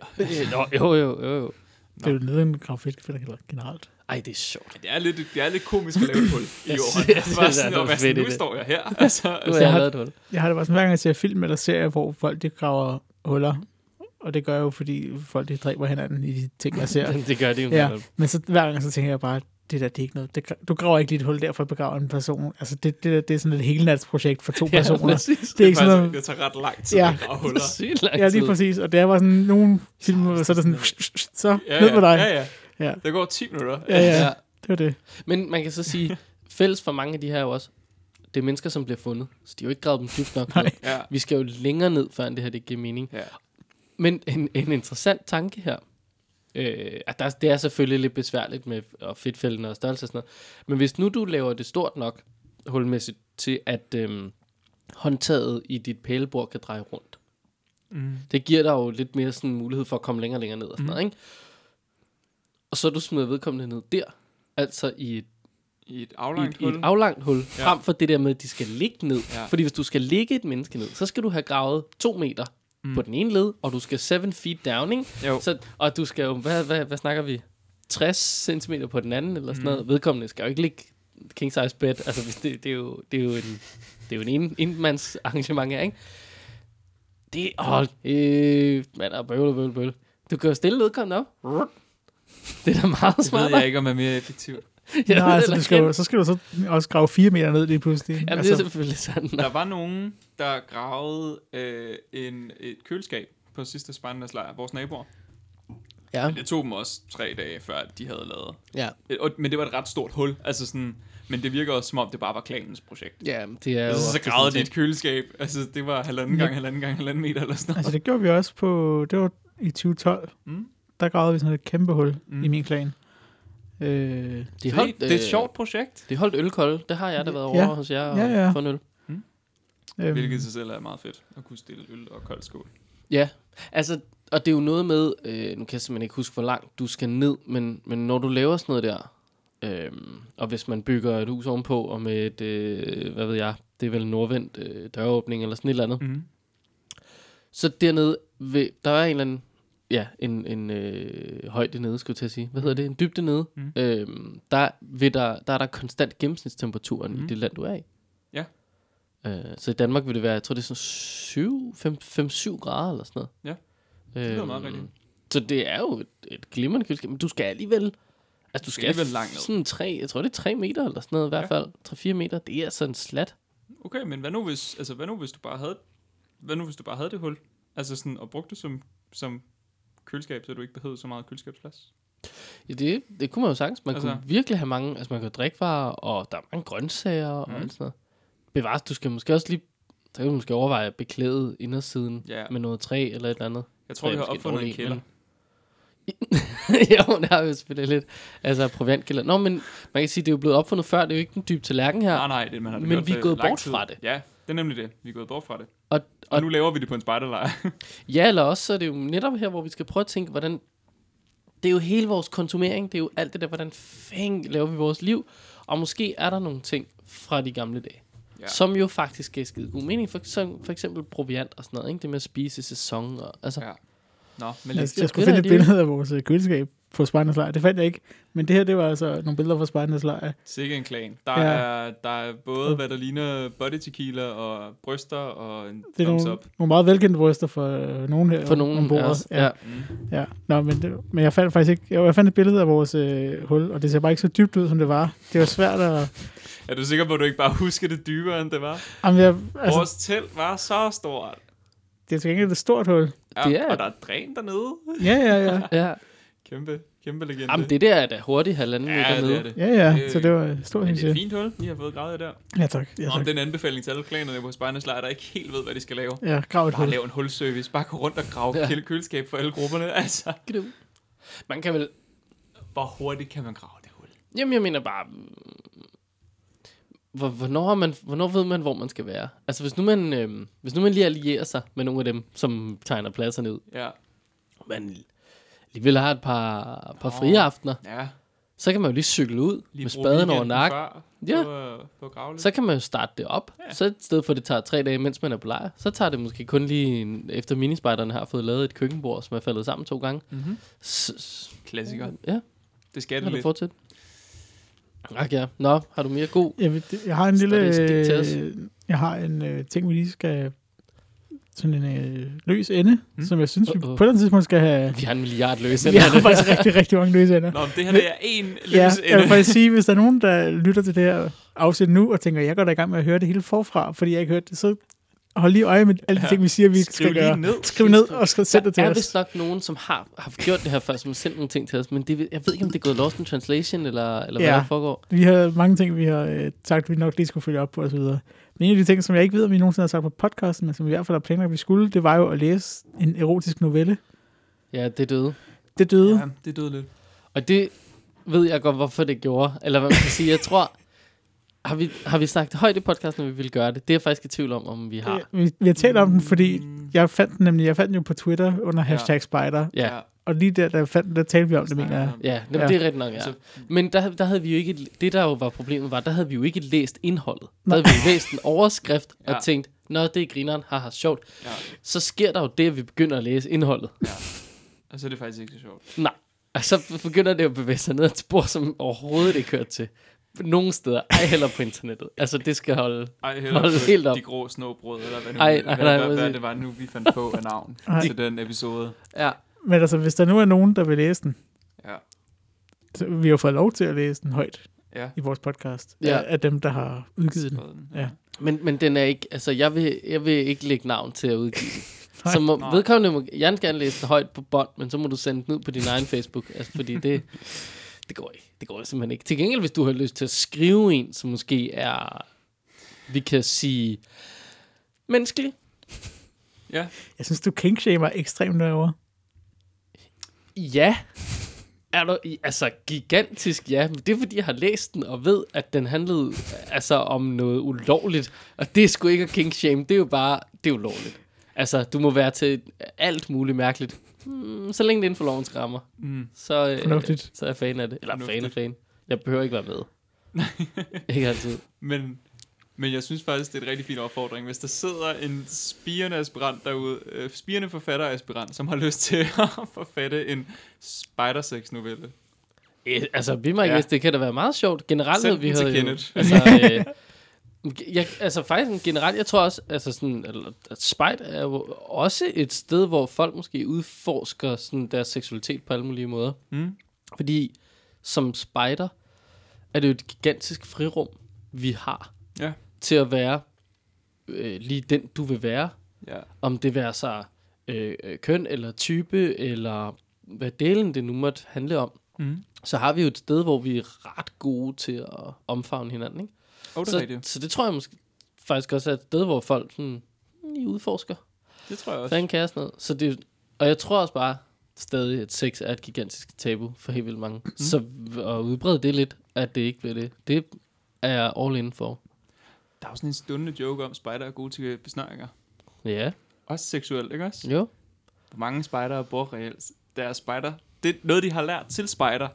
Nå, jo, jo, jo, jo. Det er jo nede i en graffiti generelt. Ej, det er sjovt. Det er lidt, det er lidt komisk at lave et hul i Jeg år. synes- Det jeg synes, var det er sådan, og noget hvad fedt i sådan, nu det. står jeg her. Nu Altså, har altså jeg har- lavet et hul. Jeg har det bare sådan, hver gang jeg ser film eller serier, hvor folk de graver huller, og det gør jeg jo, fordi folk de dræber hinanden i de ting, jeg ser. Det gør det jo. ja, men så hver gang så tænker jeg bare, det der, det er ikke noget. Det, du graver ikke lige et hul der for at begrave en person. Altså, det, det, der, det er sådan et helnatsprojekt for to Ja, personer. Det præcis. er ikke sådan faktisk- noget, Det tager ret lang tid Ja. at grave huller. Sygt lang Ja, lige tid. præcis. Og det er bare sådan, nogle film, så er det sådan, så Ah, Ja, ned med dig. Ja, ja. Ja. Der går 10 minutter. Ja, ja, Ja. det var det. Men man kan så sige, fælles for mange af de her er jo også, det er mennesker, som bliver fundet. Så de har jo ikke gravet dem dybt nok. ned. Ja. Vi skal jo længere ned, før det her det giver mening. ja. Men en, en interessant tanke her, øh, at der, det er selvfølgelig lidt besværligt med og fedtfælden og størrelse og sådan noget, men hvis nu du laver det stort nok, hulmæssigt, til at øh, håndtaget i dit pælebord kan dreje rundt, Mm. det giver dig jo lidt mere sådan mulighed for at komme længere og længere ned og sådan noget, ikke? Og så du smider vedkommende ned der, altså i et I et i aflangt et, i et hul. aflangt hul, ja. Ja. frem for det der med, at de skal ligge ned. Ja. Ja. Fordi hvis du skal ligge et menneske ned, så skal du have gravet to meter mm. på den ene led, og du skal 7 feet down, ikke? Jo. Så, og du skal jo, hvad, hvad, hvad snakker vi? 60 cm på den anden, eller sådan mm. noget. Vedkommende skal jo ikke ligge king size bed. Altså, hvis det, det, er jo, det er jo en, det er jo en en, enmands arrangement her, ikke? Det er, hold, øh, man er bøvle, bøvle, bøvle. Du kan jo stille vedkommende op. Det er da meget Det smart. ved jeg ikke, om er mere effektivt. Ja, Nej, altså, du skal jo, så skal du så også grave fire meter ned lige pludselig. Jamen, det er altså, selvfølgelig sådan. Der var nogen, der gravede øh, en, et køleskab på sidste Spandas lejr, vores naboer. Ja, Det tog dem også tre dage, før de havde lavet. ja. Øh, og- Men det var et ret stort hul. Altså sådan, men det virker også, som om det bare var klanens projekt. Ja, det er jo... Altså, så ofte gravede de sådan et køleskab. Altså, det var halvanden gang, halvanden gang, halvanden meter eller sådan noget. altså, det gjorde vi også på, det var i 2012. Mm. Mm. Der gravede vi sådan et kæmpe hul Mm. mm. i min klan. Øh, ting. De Se, holdt, det er øh, et sjovt projekt, De holdt ølkolde. Det har jeg da været over Ja. hos jer og Ja, ja. fået en øl. øhm, hvilket i sig selv er meget fedt. At kunne stille øl og kold skål. Ja, altså, og det er jo noget med, øh, nu kan jeg simpelthen ikke huske, hvor langt du skal ned, men, men når du laver sådan noget der, øh, og hvis man bygger et hus ovenpå, og med et, øh, hvad ved jeg, det er vel en nordvendt øh, døråbning eller sådan et eller andet, Mm. så dernede, ved, der er en eller anden, ja, en, en øh, højde nede, skulle jeg til at sige. Hvad hedder det? En dybde nede. Mm. Mm. Øhm, der, ved der, der er der konstant gennemsnitstemperaturen mm. Mm. i det land, du er i. Ja. Øh, så i Danmark vil det være, jeg tror, det er sådan 5-7 grader eller sådan noget. Ja. Det lyder meget rigtigt. Så det er jo et, et glimrende køleskab, men du skal alligevel... Altså, du skal alligevel langt ned. sådan tre, jeg tror, det er tre meter eller sådan noget i hvert Ja. fald. 3-4 meter, det er sådan slat. Okay, men hvad nu hvis, altså, hvad nu hvis du bare havde, hvad nu hvis du bare havde det hul? Altså sådan, og brugte det som, som køleskab, så du ikke behøvede så meget køleskabsplads. Ja, det, det kunne man jo sagtens. Man Altså- altså. kunne virkelig have mange, altså man kunne have drikkevarer, og der er mange grøntsager mm. Mhm. og alt sådan noget. Bevares, du skal måske også lige, så kan du måske overveje at beklæde indersiden Ja. ja. med noget træ eller et eller andet. Jeg tror, Træ vi er har måske opfundet en dårlig, kælder. men- jo, det har vi jo selvfølgelig lidt. Altså proviantkælder. Nå, men man kan sige, det er jo blevet opfundet før, det er jo ikke en dyb tallerken her. Nej, nej, det man har da Men gjort vi er for gået lang bort tid. fra det. Ja, det er nemlig det. Vi er gået bort fra det. Og, Og, og og nu laver vi det på en spejderlejr. Ja, eller også så er det jo netop her, hvor vi skal prøve at tænke, hvordan... Det er jo hele vores konsumering, det er jo alt det der, hvordan fanden laver vi vores liv? Og måske er der nogle ting fra de gamle dage, Ja. ja. som jo faktisk giver skide god mening. For, som, for eksempel proviant og sådan noget, ikke? det med at spise i sæson. Og, altså, Ja. Nå, men lige, altså, jeg skulle billeder, finde et de- billede af vores øh, køleskab på Spartans lejr. Det fandt jeg ikke. Men det her, det var altså nogle billeder fra Spartans lejr. sikke en klan. Der, Ja. er, der er både, hvad der ligner body tequila og bryster og en Det er thumbs nogle, up. nogle meget velkendte bryster for øh, nogen her. for nogen ombord. af os. Ja. Ja. Mm. Ja, Nå, men, det, men jeg fandt faktisk ikke... Jo, jeg fandt et billede af vores øh, hul, og det ser bare ikke så dybt ud, som det var. Det var svært at... Er du sikker på, at du ikke bare husker det dybere, end det var? Jamen, jeg, Altså, altså, Vores telt var så stort. det er til gengæld et stort hul. Ja, Det er- Og der er dræn dernede. Ja, ja, ja. ja. Kæmpe, kæmpe legende. Jamen, det der er da hurtigt halvanden Ja, meter det nede. er det. Ja, ja, Øh, så det var et stort Men det er et hensyn. fint hul, I har fået gravet der. Ja, tak. Ja, Om tak. den anbefaling til alle klanerne på Spejnes Lejr, der ikke helt ved, hvad de skal lave. Ja, grav et Bare hul. lave en hulservice. Bare gå rundt og grave Ja. ja. køleskab for alle grupperne. Altså, Gidøv. Man kan vel... hvor hurtigt kan man grave det hul? Jamen, jeg mener bare... mm, hvor- Hvornår, har man, hvornår ved man, hvor man skal være? Altså, hvis nu man, øh, hvis nu man lige allierer sig med nogle af dem, som tegner pladserne ud, Ja, man alligevel har et par, par frie aftener, ja. så kan man jo lige cykle ud lige med bruge spaden over weekenden nakken. før Ja. På, øh, på at grave lidt. Så kan man jo starte det op. Ja. Ja. Så i stedet for, at det tager tre dage, mens man er på lejr, så tager det måske kun lige, en, efter minispejderne har fået lavet et køkkenbord, som er faldet sammen to gange. Mhm. S- s- Klassiker. ja, Det skal kan det du lidt. fortsætte? Ak ja. Nå, har du mere god? Jeg, ved- jeg har en lille... Statistik til os. Øh, jeg har en øh, ting, vi lige skal... Sådan en øh, løs ende, Mm. mm. som jeg synes, vi på Uh-oh. et eller andet tidspunkt skal have... Vi har en milliard løs. Vi har faktisk rigtig, rigtig mange løse ender. Nå, men det her det er en Ja, løs jeg vil ende. faktisk sige, hvis der er nogen, der lytter til det her afsnit nu, og tænker, jeg går da i gang med at høre det hele forfra, fordi jeg ikke hørte det, så hold lige øje med alle de Ja. ting, vi siger, vi Skriv skal lige gøre. ned. Skriv ned og så send det der til er os. vist nok nogen, som har, har gjort det her før, som har sendt nogle ting til os, men det, jeg ved ikke, om det er gået lost in translation, eller, eller ja. Ja. hvad der foregår. Vi har mange ting, vi har øh, sagt, vi nok lige skulle følge op på osv. Men en af de ting, som jeg ikke ved, om vi nogensinde har sagt på podcasten, men som vi i hvert fald har planlagt, at vi skulle, det var jo at læse en erotisk novelle. Ja, det døde. Det døde. Ja, det døde lidt. Og det ved jeg godt, hvorfor det gjorde. Eller hvad man kan sige. Jeg tror, har vi, har vi snakket højt i podcasten, at vi ville gøre det? Det er jeg faktisk i tvivl om, om vi har. Ja. Øh, Vi, vi har talt om den, fordi Mm, jeg fandt den nemlig, jeg fandt den jo på Twitter under Ja. hashtag spider, Ja, ja, ja. og lige der, der jeg fandt den, der talte vi om det, mener jeg. ja, jamen, Ja. det er rigtigt nok, ja. Altså- Men der, der havde vi jo ikke, det der jo var problemet, var, der havde vi jo ikke læst indholdet. Der havde vi jo læst en overskrift Ja. og tænkt, nå, det er grineren, haha, sjovt. Ja. Så sker der jo det, at vi begynder at læse indholdet. Og så er Altså, det faktisk ikke så sjovt. Nej. Og så begynder det at bevæge sig ned ad et spor, som overhovedet ikke hører til. Nogle steder, ej heller på internettet. Altså, det skal holde. Ej, heller Hold på helt op. de grå snobrød, eller hvad, nu, Ej, Ej, nej, nej, nej, hvad, hvad, hvad præcis. det var nu, vi fandt på af navn Ej. til den episode. Ja, Men altså, hvis der nu er nogen, der vil læse den, Ja. så vi har jo fået lov til at læse den højt Ja. i vores podcast. Ja. Ja. Af dem, der har udgivet den. Skrevet den. Ja. men, men den er ikke, altså, jeg vil, jeg vil ikke lægge navn til at udgive den. Nej. Så må, Nej. vedkommende må gerne gerne læse det højt på bånd, men så må du sende den ud på din egen Facebook, altså, fordi det, det går ikke. Det går simpelthen ikke. Til gengæld, hvis du har lyst til at skrive en, som måske er, vi kan sige, menneskelig. ja. Jeg synes, du kinkshamer ekstremt derovre. Ja. Er du, altså, gigantisk ja. Men det er, fordi jeg har læst den og ved, at den handlede altså, om noget ulovligt. Og det er sgu ikke at king shame. Det er jo bare, det er ulovligt. Altså, du må være til alt muligt mærkeligt. Hmm, så længe det er inden for lovens rammer. Mm. Så, øh, Fornuftigt. så er jeg fan af det. Eller fan af Fornuftigt. fan. Jeg behøver ikke være med. ikke altid. Men, men jeg synes faktisk, det er en rigtig fin opfordring. Hvis der sidder en spirende aspirant derude, øh, spirende forfatteraspirant, som har lyst til at forfatte en spidersex-novelle. Eh, altså, be my ja. Ja. guest, det kan da være meget sjovt. Generelt Send havde vi den til havde jo, Kenneth. altså, øh, jeg, altså faktisk sådan generelt, jeg tror også, altså sådan, eller, at Spite er jo også et sted, hvor folk måske udforsker sådan deres seksualitet på alle mulige måder. Mm. Fordi som spider er det jo et gigantisk frirum, vi har Ja. til at være øh, lige den, du vil være. Ja. Om det være sig øh, øh, køn eller type, eller hvad delen det nu måtte handle om Mm. så har vi jo et sted, hvor vi er ret gode til at omfavne hinanden. Ikke? Oh, det, er så, rigtigt. så det tror jeg måske faktisk også er et sted, hvor folk sådan, "Hmm, I udforsker. det tror jeg også. Fanden kan jeg sådan noget. Så det, og jeg tror også bare stadig, at sex er et gigantisk tabu for helt vildt mange. Mm. Så at udbrede det lidt, at det ikke bliver det, det er jeg all in for. Der er jo sådan en stundende joke om, at spider er gode til besnaringer. Ja, Også seksuelt, ikke også? jo. Hvor mange spejdere bruger reelt deres spejder. Det er noget, de har lært til spejder,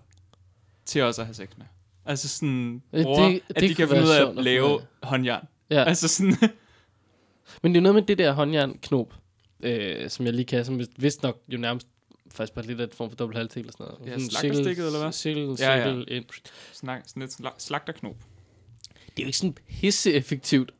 til også at have sex med. Altså sådan, Øh, bruger, det- det, det at de kunne kan være finde ud af sjovt at at lave finde håndjern. Ja. Altså sådan, Men det er jo noget med det der håndjernknop, øh, som jeg lige kan, som vist- vist nok jo nærmest faktisk bare lidt af et form for dobbelt halvdel eller sådan noget. Ja, Sådan en slagterstikket, cirkel- eller hvad? Cirkel, Ja, ja. cirkel, ind. snak, sådan et sla- slagterknop. det er jo ikke sådan pisseeffektivt.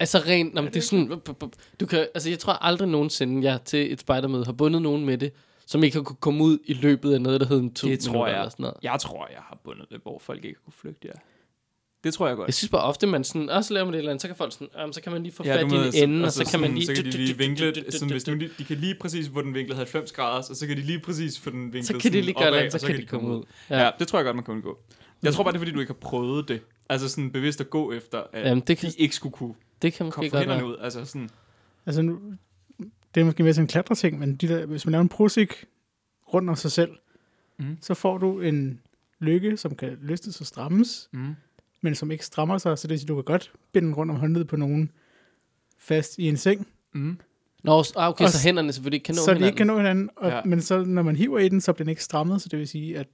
Altså rent, ja, det, det er sådan, bup, bup, bup. du kan, altså jeg tror aldrig nogensinde, jeg til et spejdermøde har bundet nogen med det, som ikke har kunne komme ud i løbet af noget, der hedder en to Det tror minutter jeg. eller sådan noget. Jeg tror, jeg har bundet det, hvor folk ikke kunne flygte, ja. Det tror jeg Jeg godt. synes bare ofte, man sådan, også laver man det eller andet, så kan folk sådan, "Ah, men så kan man lige få Ja, fat i du en ved, så- ende, og altså så kan man sådan- lige... Så kan de lige vinkle, det, sådan, hvis nu de, de kan lige præcis, hvor den vinklet 90 grader, og så kan de lige præcis få den vinklet så kan de sådan lige gøre opad, det, og så, kan de komme ud. Ja. ja, det tror jeg godt, man kan undgå. Jeg tror bare, det er, fordi du ikke har prøvet det. Altså sådan bevidst at gå efter, at Jamen, det kan- de ikke skulle kunne Det kan måske komme fra godt hænderne være. ud. Altså sådan, Altså, nu, det er måske mere sådan en klatreting, men de der, hvis man laver en prosik rundt om sig selv, Mm. mm. så får du en lykke, som kan løstes og strammes, mm. men som ikke strammer sig, så det vil sige, du kan godt binde den rundt om håndledet på nogen fast i en seng, Mm. Nå, så- ah, okay, Og så s- hænderne selvfølgelig ikke kan nå så de hinanden. ikke kan nå hinanden, og, Ja. ja. men så når man hiver i den, så bliver den ikke strammet, så det vil sige, at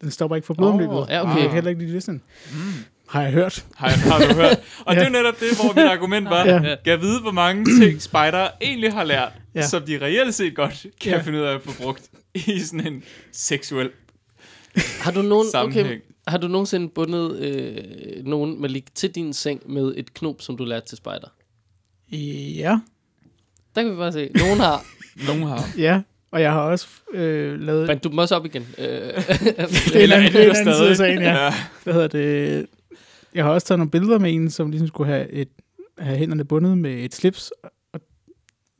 den stopper ikke for blodomløbet. Åh, ja, Og okay. Jeg kan heller ikke lide det sådan. Mm. Har jeg hørt. Har, har du hørt? Og det er jo netop det, hvor mit argument var, Ja. kan jeg vide, hvor mange ting spejdere egentlig har lært, Ja. som de reelt set godt kan Ja. finde ud af at få brugt i sådan en seksuel Har du, nogen, okay, Sammenhæng. har du nogensinde bundet øh, nogen Malik, til din seng med et knop, som du lærte til spejder? Ja, Der kan vi bare se. Nogen har... Nogen har. ja. Og jeg har også øh, lavet... Bandt du dem også op igen? Øh, Det er en anden, det er en Eller anden side af sagen, ja. ja. Hvad hedder det? Jeg har også taget nogle billeder med en, som ligesom skulle have, et, have hænderne bundet med et slips. Og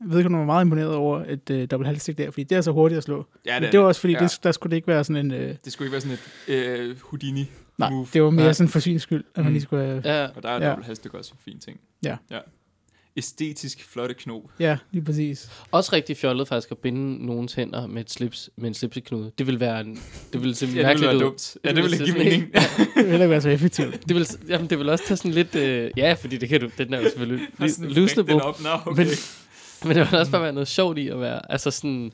jeg ved ikke, om hun var meget imponeret over et øh, dobbelt halvstik der, fordi det er så hurtigt at slå. Ja, ja, det, Men det var også, fordi ja. ja. det, der skulle det ikke være sådan en... Øh, Det skulle ikke være sådan et øh, Houdini nej, move. det var mere Nej. sådan for syns skyld, at Mm. man lige skulle have... ja, Og der er Ja. dobbelt hashtag også en fin ting. Ja. ja. Æstetisk flotte knob. Ja, lige præcis. også rigtig fjollet faktisk at binde nogens hænder med et slips, med en slipseknude. Det vil være en, det vil se Ja, det ville mærkeligt være ud. dumt. Ja, det ville ikke give Det ville mening. Det ville heller ikke være så effektivt. Det vil, jamen, det vil også tage sådan lidt... Øh, ja, fordi det kan du. Den er jo selvfølgelig Og sådan lo- frække looseable. den op. Nå, okay. Men, men det vil også bare være noget sjovt i at være... Altså sådan...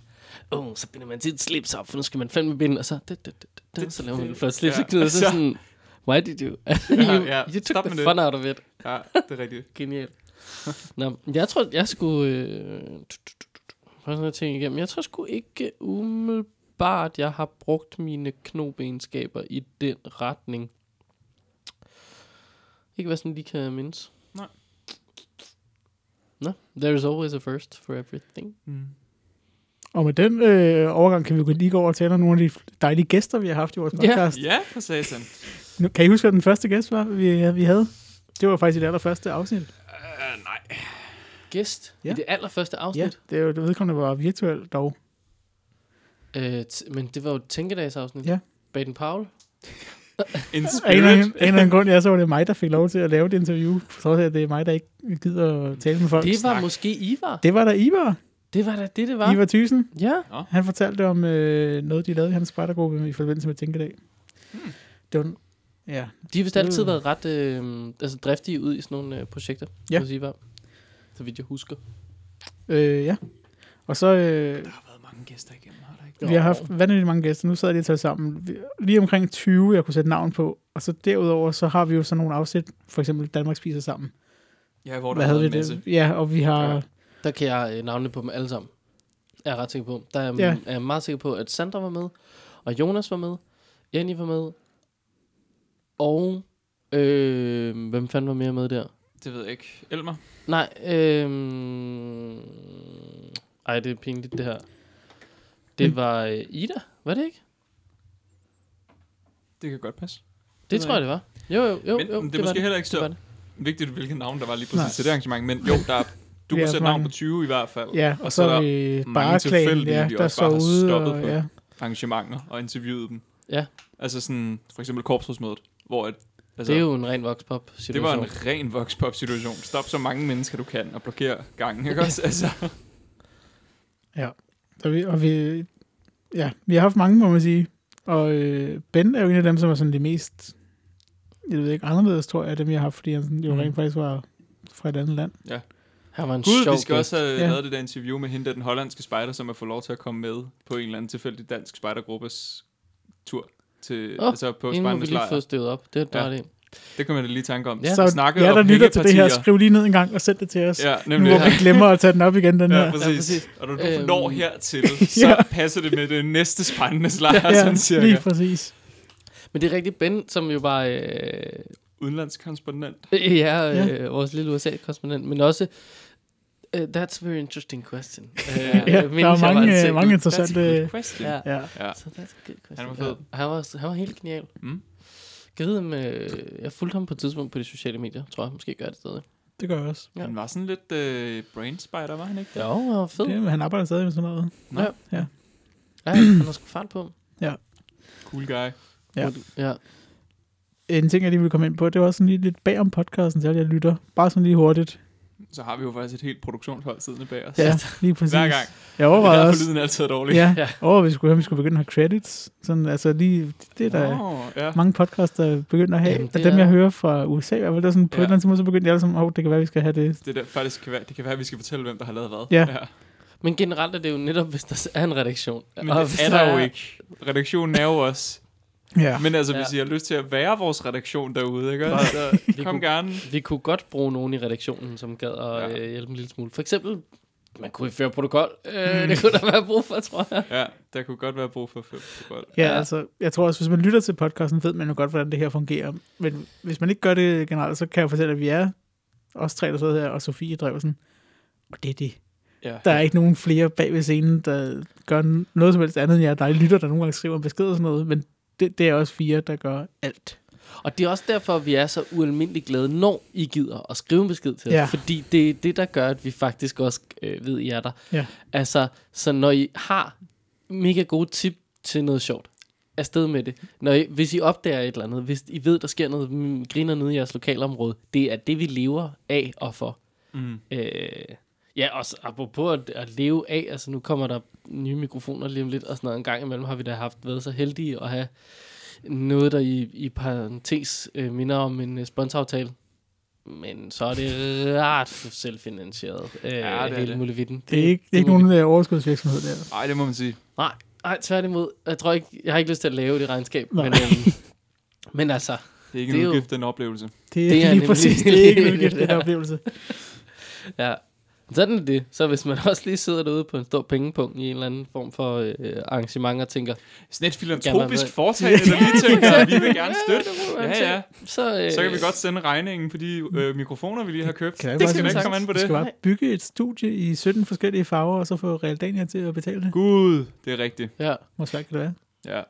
Åh, oh, så binder man sit slips op, for nu skal man fandme binde, og så... Det, det, det, det, så laver man en flot slipseknude, og så Ja, sådan... Why did you? Ja, you, ja. you took Stop the med det. fun out of it. Ja, det er rigtigt. Genial. Nå, jeg tror, jeg skulle... Øh, tut, tut, tut, tut. Prøv sådan at tænke igennem. Jeg tror sgu ikke umiddelbart, jeg har brugt mine knobegenskaber i den retning. Ikke hvad sådan lige kan mindes. Nej. Nå, there is always a first for everything. Mm. Og med den øh, overgang kan vi jo lige gå over og tale om nogle af de dejlige gæster, vi har haft i vores Ja. podcast. Ja, for satan. Nu, kan I huske, hvad den første gæst var, vi, vi havde? Det var faktisk i det allerførste afsnit. Uh, nej. Gæst ja. Ja. i det allerførste Ja, afsnit. det er jo det vedkommende var virtuelt dog. Ja. Øh, t- men det var jo et tænkedagsafsnit. Ja. Baden Powell. In Af en eller spirit. anden- af en eller anden grund, jeg så, var det mig, der fik lov til at lave det interview. på trods af, at det er mig, der ikke gider at tale med folk. Det var snak. måske Ivar. Det var da Ivar. Det var da det, det var. Ivar Thyssen. Ja. Han fortalte om øh, noget, de lavede i hans spejdergruppe i forbindelse med Tænkedag. Hmm. Det var, ja, De har vist altid Mm. været ret øh, altså driftige ud i sådan nogle øh, projekter, Ja. ja. hos Ivar. Så vidt jeg husker. øh, ja. Og så, øh, Der har været mange gæster igennem, har der ikke? vi har haft vanvittigt mange gæster. Nu sad jeg lige og talte sammen. Vi- Lige omkring 20, jeg kunne sætte navn på. Og så derudover, så har vi jo sådan nogle afsæt. For eksempel Danmark spiser sammen. Ja, hvor der Hvad har havde været vi en masse. det? Ja, og vi har... Ja. Der kan jeg øh, navne på dem alle sammen. Jeg er ret sikker på. Der er, Ja. ja. er jeg meget sikker på, at Sandra var med, og Jonas var med, Jenny var med, og øh, hvem fanden var mere med der? Det ved jeg ikke. Elmer? Nej, øh, ej, det er pinligt det her. Mm. Det var øh, Ida, var det ikke? Det kan godt passe. Det, ved tror jeg, det var. Jo, jo, jo. jo, Men det er var måske heller ikke Det var så det. vigtigt, hvilket navn der var lige Nej. præcis til det arrangement, men jo, der er, du Vi er kunne sætte navn mange. på 20 i hvert fald. Ja, og, og så, er er der vi mange bare klagen, tilfældige, ja, vi der også står bare har ude. stoppet Og, på. ja. arrangementer og interviewede dem. Ja. Altså sådan, for eksempel korpsrådsmødet, hvor at, altså, det er jo en ren vokspop situation. det var en ren voxpop-situation. Stop så mange mennesker, du kan, og blokér gangen, ikke også? Altså, Så vi, og vi, ja, vi har haft mange, må man sige. Og øh, Ben er jo en af dem, som er sådan de mest, jeg ved ikke, anderledes, tror jeg, af dem, jeg har haft, fordi han sådan, jo Mm. rent faktisk var fra et andet land. Han var en Gud, sjov vi skal gæst. også have Ja. ja. lavet det der interview med hende, der den hollandske spejder, som har fået lov til at komme med på en eller anden tilfældig dansk spejdergruppes tur til, Åh, oh, altså på Inden må vi spejdernes lige lejr. få støvet op. Det er Ja. bare det. Det kan man da lige tænke om. Ja. Ja. Så snakke ja, om der lytter til det her, hængepartier. skriv lige ned en gang og send det til os. Ja, Ja, nu nemlig. hvor Ja. vi glemmer at tage den op igen, den Ja, her. præcis. Ja, Ja, præcis. præcis. Og når du Øhm. når hertil, så Ja. passer det med det næste spejdernes lejr, ja, Ja, sådan cirka. lige præcis. Men det er rigtigt Ben, som jo var øh, Udenlandskorrespondent. øh, ja, øh, Ja. vores lille USA-korrespondent, men også... Uh, that's a very interesting question. Uh, Ja, der er mange, øh, mange interessante... That's a good question. Ja. Ja. Ja. So that's a good altså question. Han var fed. Ja, han, var, han var helt genial. Mm. Jeg ved, om, øh, jeg fulgte ham på et tidspunkt på de sociale medier. Tror jeg måske gør det stadig. Det gør jeg også. Ja. Han var sådan lidt øh, brain spider, var han ikke? Jo, han var fed. Det, han arbejder stadig med sådan noget. Ja, han har sgu fart på. Cool guy. Ja. Ja. En ting, jeg lige vil komme ind på, det var sådan lige lidt bag om podcasten, så jeg lytter. Bare sådan lige hurtigt. Så har vi jo faktisk et helt produktionshold siddende bag os. Ja, lige præcis. Hver gang. Jeg Det er overvejede derfor også, lyden er altid dårlig. Ja, Ja. ja. og vi skulle, vi skulle begynde at have credits. Sådan, altså lige, det er der Nå, ja. mange podcasts, der begynder at have. Jamen, Jamen, det og dem, er- jeg hører fra USA, i hvert fald, der er sådan, på Ja. et eller andet måde, så begyndte jeg alle sammen, oh, det kan være, vi skal have det. Det, der faktisk kan være, det kan være, at vi skal fortælle, hvem der har lavet hvad. Ja. Men generelt er det jo netop, hvis der er en redaktion. Men Og det hvis er der jo ikke. Redaktionen er jo os. Ja. Men, Men altså, hvis Ja. I har lyst til at være vores redaktion derude, ikke? Nej. Så Vi kom kunne- gerne. Vi kunne godt bruge nogen i redaktionen, som gad at Ja. ja. øh, hjælpe en lille smule. For eksempel, man kunne føre protokol. Øh, Det kunne der være brug for, tror jeg. Ja, der kunne godt være brug for fem. Godt. ja, ja. altså, jeg tror også, hvis man lytter til podcasten, ved man jo godt, hvordan det her fungerer. Men hvis man ikke gør det generelt, så kan jeg fortælle, at vi er os tre, der sidder her, og Sofie Drevsen. Og det er det. Ja. Der er ikke nogen flere bag ved scenen, der gør n- noget som helst andet end jer. Der er lytter, der nogle gange skriver en besked og sådan noget, men det, det er også fire, der gør alt. Og det er også derfor, vi er så ualmindelig glade, når I gider at skrive en besked til os. Ja. Fordi det er det, der gør, at vi faktisk også øh, ved, I er der. Ja. Altså, så når I har mega gode tip til noget sjovt, afsted med det. Når I, hvis I opdager et eller andet, hvis I ved, der sker noget mm, griner nede i jeres lokalområde, det er det, vi lever af og for. Mm. Øh, ja, og så, apropos at, at leve af, altså nu kommer der nye mikrofoner lige om lidt, og sådan noget. En gang imellem har vi da haft været så heldige at have noget, der i, i parentes øh, minder om en øh, sponsoraftale. Men så er det ret selvfinansieret, øh, det er ja, det hele det. muligheden. Det er ikke, det er ikke må vi- nogen øh, overskudsvirksomhed der. Ej, det må man sige. Nej, nej, tværtimod. Jeg tror ikke, jeg har ikke lyst til at lave det regnskab. Nej. Men, øhm, men altså, Det er ikke Det det er en jo- udgift, det er en oplevelse. Det Det er er, det er nemlig- lige præcis, det er ikke en det er udgift, det det. her oplevelse. Ja. Sådan er det. Så hvis man også lige sidder derude på en stor pengepunkt i en eller anden form for øh, arrangement og tænker, Sådan et Gerne være med. filantropisk foretagende, der lige tænker, at vi vil gerne støtte. Ja, ja. så, øh, Så kan vi godt sende regningen på de øh, mikrofoner, vi lige har købt. Kan jeg det bare skal sige- ikke komme an på Vi skal det. bare bygge et studie i 17 forskellige farver, og så få Realdania til at betale det. Gud, det er rigtigt. Ja, det Hvor svært kan det være? Ja.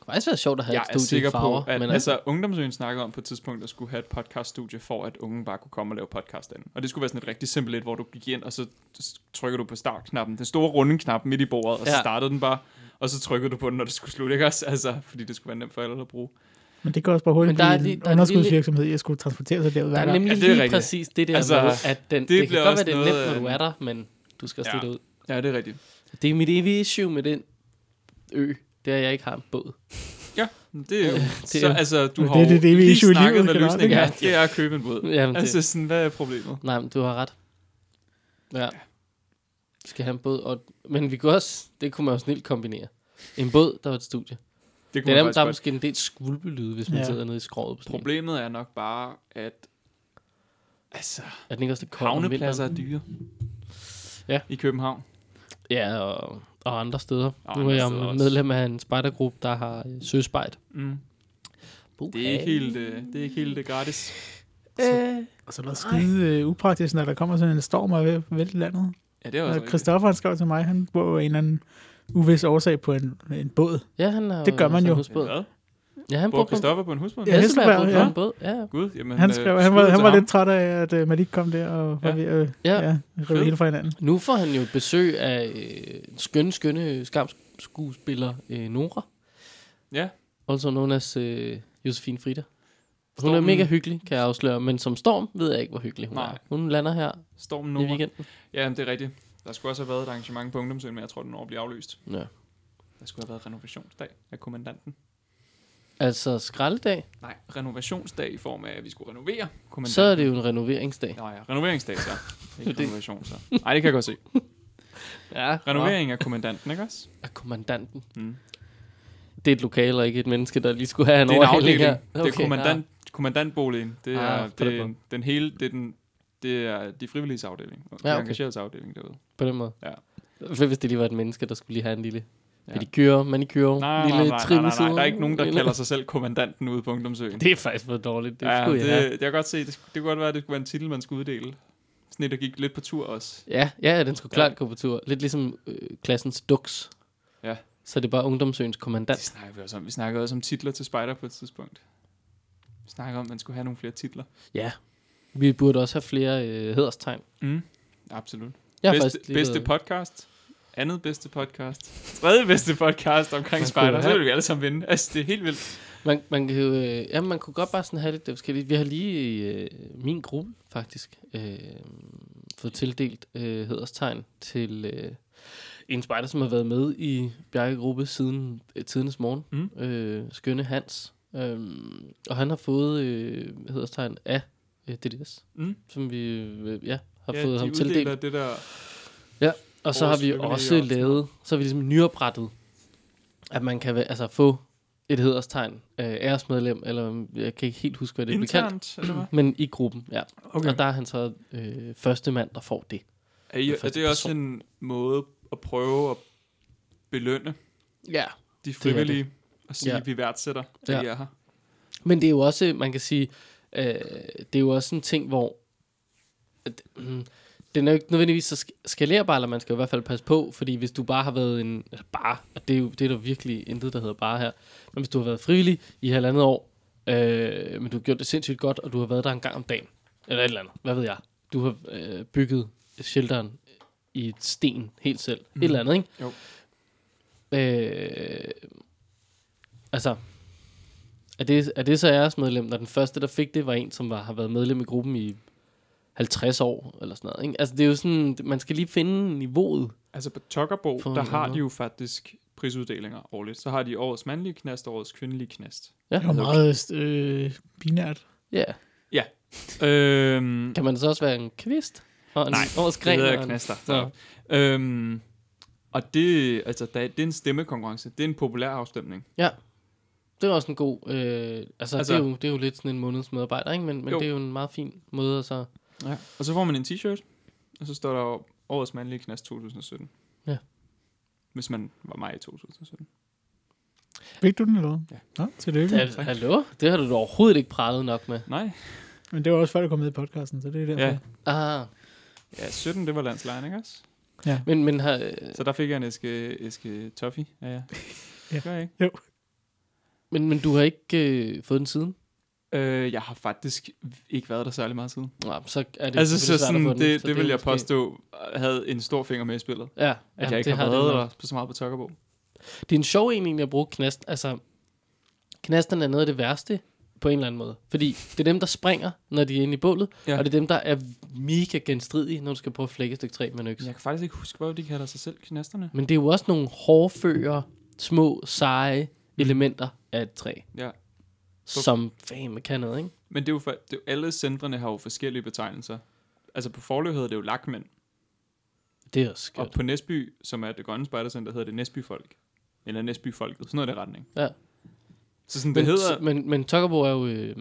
kunne faktisk være sjovt at have Jeg er et studie i sikker farver. på, at men men altså, altså, Ungdomsøen snakker om på et tidspunkt at skulle have et podcaststudie, for at unge bare kunne komme og lave podcast derinde. Og det skulle være sådan et rigtig simpelt et, hvor du gik ind, og så s- trykker du på startknappen, den store runde knap midt i bordet, og så Ja. startede den bare, og så trykkede du på den, når det skulle slutte, ikke også? Altså, fordi det skulle være nemt for alle at bruge. Men det kan også bare Men hurtigt der blive er lige- en der er en underskudsvirksomhed, jeg skulle transportere sig derud der hver er gang. nemlig Ja, det ja, er lige rigtigt. præcis det der altså, Altså, med, at den, det, det kan bliver godt også være, det er noget nemt, når af du er en- der, men du skal også Ja. ja. ud. Ja, det er rigtigt. Det er mit evige issue med den ø, det er, at jeg ikke har en båd. Ja, men det er jo... det er så, jo- altså, du Men har det er jo det, det er vi lige issue i snakket, livet hvad generelt, løsningen ikke? Ja, er. Det er at købe en båd. Jamen, Altså, altså, det, sådan, hvad er problemet? nej, men du har ret. Ja. Vi skal have en båd. Og, men vi kunne også, det kunne man jo snilt kombinere. En båd, der var et studie. Det Det kunne er man der, faktisk der er godt. måske en del skvulpelyde, hvis man Ja. sidder nede i skroget på sådan en. Problemet er nok bare, at altså, Er den ikke også lidt kold om havnepladser er vinteren? dyre. Ja. I København. Ja, og, og andre steder. Og Og nu andre er jeg steder jo også. medlem af en spejdergruppe, der har øh, søspejt. Mm. Okay. Det, er ikke helt, øh, det er ikke helt øh, gratis. Øh, Og så er det skide øh, upraktisk, når der kommer sådan en storm og er ved at vælte landet. Ja, det er også Og rigtigt. Christoffer han skrev til mig, han bor jo af en eller anden uvis årsag på en, en båd. ja, han er Det gør man sådan jo. en husbåd. Hvad? Ja, han Bor brugte en Christoffer på en husbåd? Ja. Hesselberg, Hesselberg ja. ja. en båd. Ja, Gud, jamen, Han, øh, skrev, han, var, skud han til var ham. lidt træt af, at øh, man ikke kom der og var Ja. ved at Ja. ja. Ja, rive Fedt. hele fra hinanden. Nu får han jo besøg af øh, skønne, skønne skamskuespiller øh, Nora. Ja. Also known as øh, Josefine Frida. Hun er Stormen- mega hyggelig, kan jeg afsløre. Men som Storm ved jeg ikke, hvor hyggelig hun Nej. er. Hun lander her Stormen i Nord. weekenden. Ja, men det er rigtigt. Der skulle også have været et arrangement på Ungdomsøen, men jeg tror, den over bliver aflyst. Ja. Der skulle have været renovationsdag af kommandanten. Altså skraldedag, Nej, renovationsdag i form af, at vi skulle renovere kommandanten. så er det jo en renoveringsdag. Nå ja, renoveringsdag så. Ikke Det- renovation så. Nej, det kan jeg godt se. Ja, Renovering af kommandanten, ikke også? af kommandanten. Mm. Det er et lokale og ikke et menneske, der lige skulle have en Det er en overhaling afdeling. her. Det er kommandant, kommandantboligen. Det er, Ah, ah, på den det, er, måde. den hele, det er, den, det er de frivilliges afdeling. Og de Ja, ja, okay. okay. engageredes afdeling derude. Ja, på den måde. Ja. For hvis det lige var et menneske, der skulle lige have en lille ja. Ja. pedikure, manikure, Nej, lille nej, nej, nej, trim nej, i nej, siden, Der er ikke nogen, der lille- kalder sig selv kommandanten ude på Ungdomsøen. Det er faktisk for dårligt. Det ja, ja, skulle jeg have. det, det kan godt se. Det, det kunne godt være, at det skulle være en titel, man skulle uddele. Sådan et, der gik lidt på tur også. Ja, ja, ja, den skulle Ja. klart gå på tur. Lidt ligesom øh, klassens duks. Ja. Så det er bare ungdomsøens kommandant. Det snakker vi også om. Vi snakkede også om titler til Spider på et tidspunkt. Vi snakkede om, at man skulle have nogle flere titler. Ja. Vi burde også have flere øh, hederstegn. Mm. Absolut. Jeg har bedste, lige bedste været- podcast. Andet bedste podcast. Tredje bedste podcast omkring Man Spider. kunne Så have- vil vi alle sammen vinde. Altså, det er helt vildt. Man, man, kan, jo, øh, jamen, man kunne godt bare sådan have lidt det forskellige. Vi har lige i øh, min gruppe faktisk øh, fået tildelt øh, hederstegn til øh, en spejder, som har været med i Bjergegruppe siden øh, tidens morgen. Mm. Øh, skønne Hans. Øh, og han har fået øh, hederstegn af øh, DDS, Mm. som vi øh, ja, har ja, ja, fået de ham uddeler tildelt. det der... Og så har Årets vi frivillige også opslag. lavet, så har vi ligesom nyoprettet, at man kan væ- altså få et hederstegn, øh, æresmedlem, eller jeg kan ikke helt huske, hvad det blev kaldt, internt, eller hvad? men i gruppen, ja. Okay. Okay. Og der er han så øh, første mand, der får det. Er, I, Den er første det også person. en måde at prøve at belønne Ja. de Det er det. frivillige? Og sige, Ja. ja. at vi værdsætter, at Ja. ja. I er her. Men det er jo også, man kan sige, øh, det er jo også en ting, hvor at, mm, den er jo ikke nødvendigvis så sk- skalerbar, eller man skal jo i hvert fald passe på, fordi hvis du bare har været en altså bare, og det er jo det er der virkelig intet, der hedder bare her, men hvis du har været frivillig i halvandet år, øh, men du har gjort det sindssygt godt, og du har været der en gang om dagen, eller et eller andet, hvad ved jeg, du har øh, bygget shelteren i et sten helt selv, mm. et eller andet, ikke? Jo. Øh, altså, er det, er det så æresmedlem, når den første, der fik det, var en, som var, har været medlem i gruppen i 50 år, eller sådan noget. Ikke? Altså, det er jo sådan, man skal lige finde niveauet. Altså på Tokkerbo, På en der har måde. de jo faktisk prisuddelinger årligt. Så har de årets mandlige knast og årets kvindelige knast. Ja, Det var meget øh, binært. ja. Øhm, Kan man så også være en kvist? Og en Nej, års Det gren, hedder og en- knaster. Nå. Så. Øhm, og det, altså, der, er- det er en stemmekonkurrence. Det er en populær afstemning. Ja. det er også en god... Øh, altså, altså Altså- det, er jo, det er jo lidt sådan en måneds medarbejder, ikke? Men, men Jo. det er jo en meget fin måde at så... Ja. Og så får man en t-shirt, og så står der jo årets mandlige knast 2017. Ja. Hvis man var mig i 2017. Fik du den, eller hvad? Ja. Nå, tillykke. Ja, hallo? Det har du da overhovedet ikke pralet nok med. Nej. Men det var også før, du kom med i podcasten, så det er derfor. Ja. Ah, Ja, 17, det var landslejen, ikke også? men, men har, øh, Så der fik jeg en æske, æske toffee af jer. Ja. Gør jeg ikke? men, men du har ikke øh, fået den siden? Øh, jeg har faktisk ikke været der særlig meget siden. Nå, så er det Det, altså, selvfølgelig så svært at sådan, få det, den, det, så det er vil jeg måske- påstå, havde en stor finger med i spillet. Ja, at At jeg ikke det har det været nok. der på så meget på Tokkerbo. Det er en sjov en egentlig at bruge knast. Altså, knasterne er noget af det værste på en eller anden måde. Fordi det er dem, der springer, når de er inde i bålet, ja. Ja. og det er dem, der er mega genstridige, når du skal prøve at flække et stykke træ med en økse. Men Ja. Jeg kan faktisk ikke huske, hvor de kalder sig selv knasterne. Men det er jo også nogle hårdfører, små, seje elementer af et træ, Mm. Ja. som fame kan noget, ikke? Men det er jo for, det er jo, alle centrene har jo forskellige betegnelser. Altså på Forløb hedder det jo lakmænd, Det er også og skørt. på Næsby, som er det grønne spejdercenter, hedder det Næsbyfolk. Eller Næsbyfolket, sådan noget i den retning. Ja. Så sådan, det Men, hedder... men, men Tokkerbo er jo øh, Det,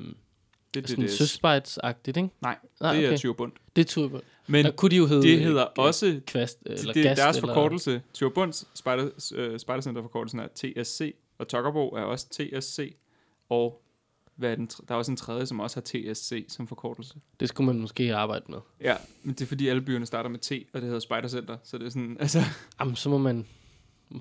det, sådan det, det, søspejdsagtigt, ikke? nej, Nej, det okay. er Tyrebund. Det er Turbo. Men Der kunne de jo hedde... det øh, hedder også Kvast, eller det, det er gast, deres eller- forkortelse. Tyrebunds Spejder, øh, Spejdercenter-forkortelsen er TSC, og Tokkerbo er også TSC, og hvad er den, tr- der er også en tredje, som også har TSC som forkortelse. Det skulle man måske arbejde med. Ja, men det er fordi alle byerne starter med T, og det hedder Spejdercenter, så det er sådan, altså, Jamen, så må man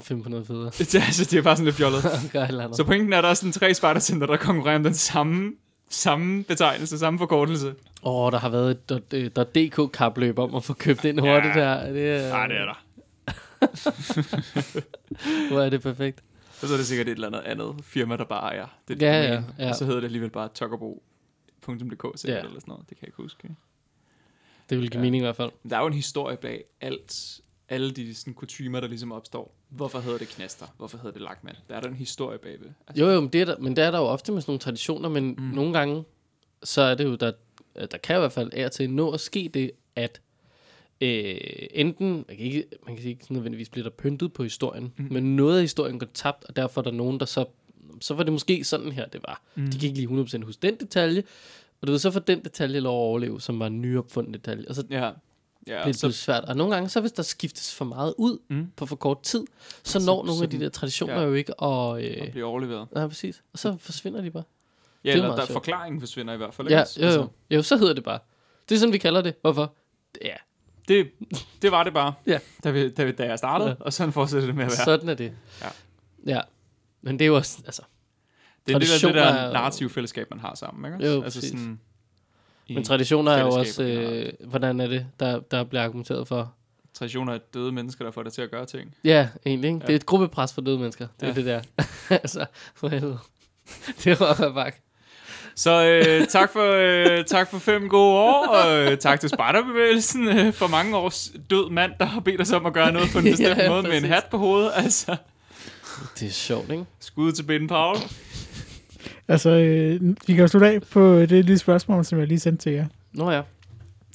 finde på noget federe. det, er- altså, det er bare sådan lidt fjollet. Gør et eller andet. Så pointen er, at der er sådan tre Spejdercenter, der konkurrerer om den samme, samme betegnelse, samme forkortelse. Åh, oh, der har været et dot- øh, dot .dk kapløb om at få købt ind hurtigt her. Det er, Nej, det er der. Hvor er det perfekt. Og så er det sikkert et eller andet andet firma, der bare ejer. Det Ja, domæne. ja, ja. Og så hedder det alligevel bare tokkerbo.dk sikkert, Ja. eller sådan noget. Det kan jeg ikke huske. Det vil give Ja. mening i hvert fald. Der er jo en historie bag alt, alle de sådan, kutumer, der ligesom opstår. Hvorfor hedder det knaster? Hvorfor hedder det lakmand? Der er der en historie bagved. Altså, Jo, jo, men det er der, men det er der jo ofte med sådan nogle traditioner, men mm. nogle gange, så er det jo, der, der kan i hvert fald af og til nå at ske det, at øh, enten, man kan, ikke, man kan sige, ikke sådan nødvendigvis bliver der pyntet på historien, mm. men noget af historien går tabt, og derfor er der nogen, der så, så var det måske sådan her, det var. Mm. De kan ikke lige 100% huske den detalje, og du ved, så får den detalje lov at overleve, som var en nyopfundet detalje, og så Ja, ja bliver og det så... så, svært. Og nogle gange, så hvis der skiftes for meget ud mm. Mm. på for kort tid, så når nogle af de sådan- der traditioner ja. ja. jo ikke at... Øh, og bliver overleveret. Nej, præcis. Og så forsvinder de bare. Ja, er eller meget der, sjovt. forklaringen forsvinder i hvert fald. ikke Ja, også? jo, jo. Altså, jo, så hedder det bare. Det er sådan, vi kalder det. Hvorfor? Ja, det, det var det bare, Ja. da, vi, da, vi, da jeg startede, Ja. ja. og sådan fortsætter det med at være. sådan er det. Ja. ja. Men det er jo også, altså... det er det, der, det traditioner er der jo- narrative fællesskab, man har sammen. Ikke? Jo, også? Altså præcis. i Men traditioner er jo også... fællesskaber generelt. Øh, hvordan er det, der, der bliver argumenteret for? Traditioner er døde mennesker, der får dig til at gøre ting. Ja, egentlig. Ikke? Ja. Det er et gruppepres for døde mennesker. Det er ja. Ja. det der. altså, for helvede. det var bare... Så øh, tak, for, øh, tak for fem gode år, og øh, tak til Sparta-bevægelsen øh, for mange års død mand, der har bedt os om at gøre noget på en bestemt Ja, ja, måde med en præcis. hat på hovedet. Altså, Det er sjovt, ikke? skud til Ben Paul. Altså, øh, vi kan jo slutte af på det lille spørgsmål, som jeg lige sendte til jer. Nå ja.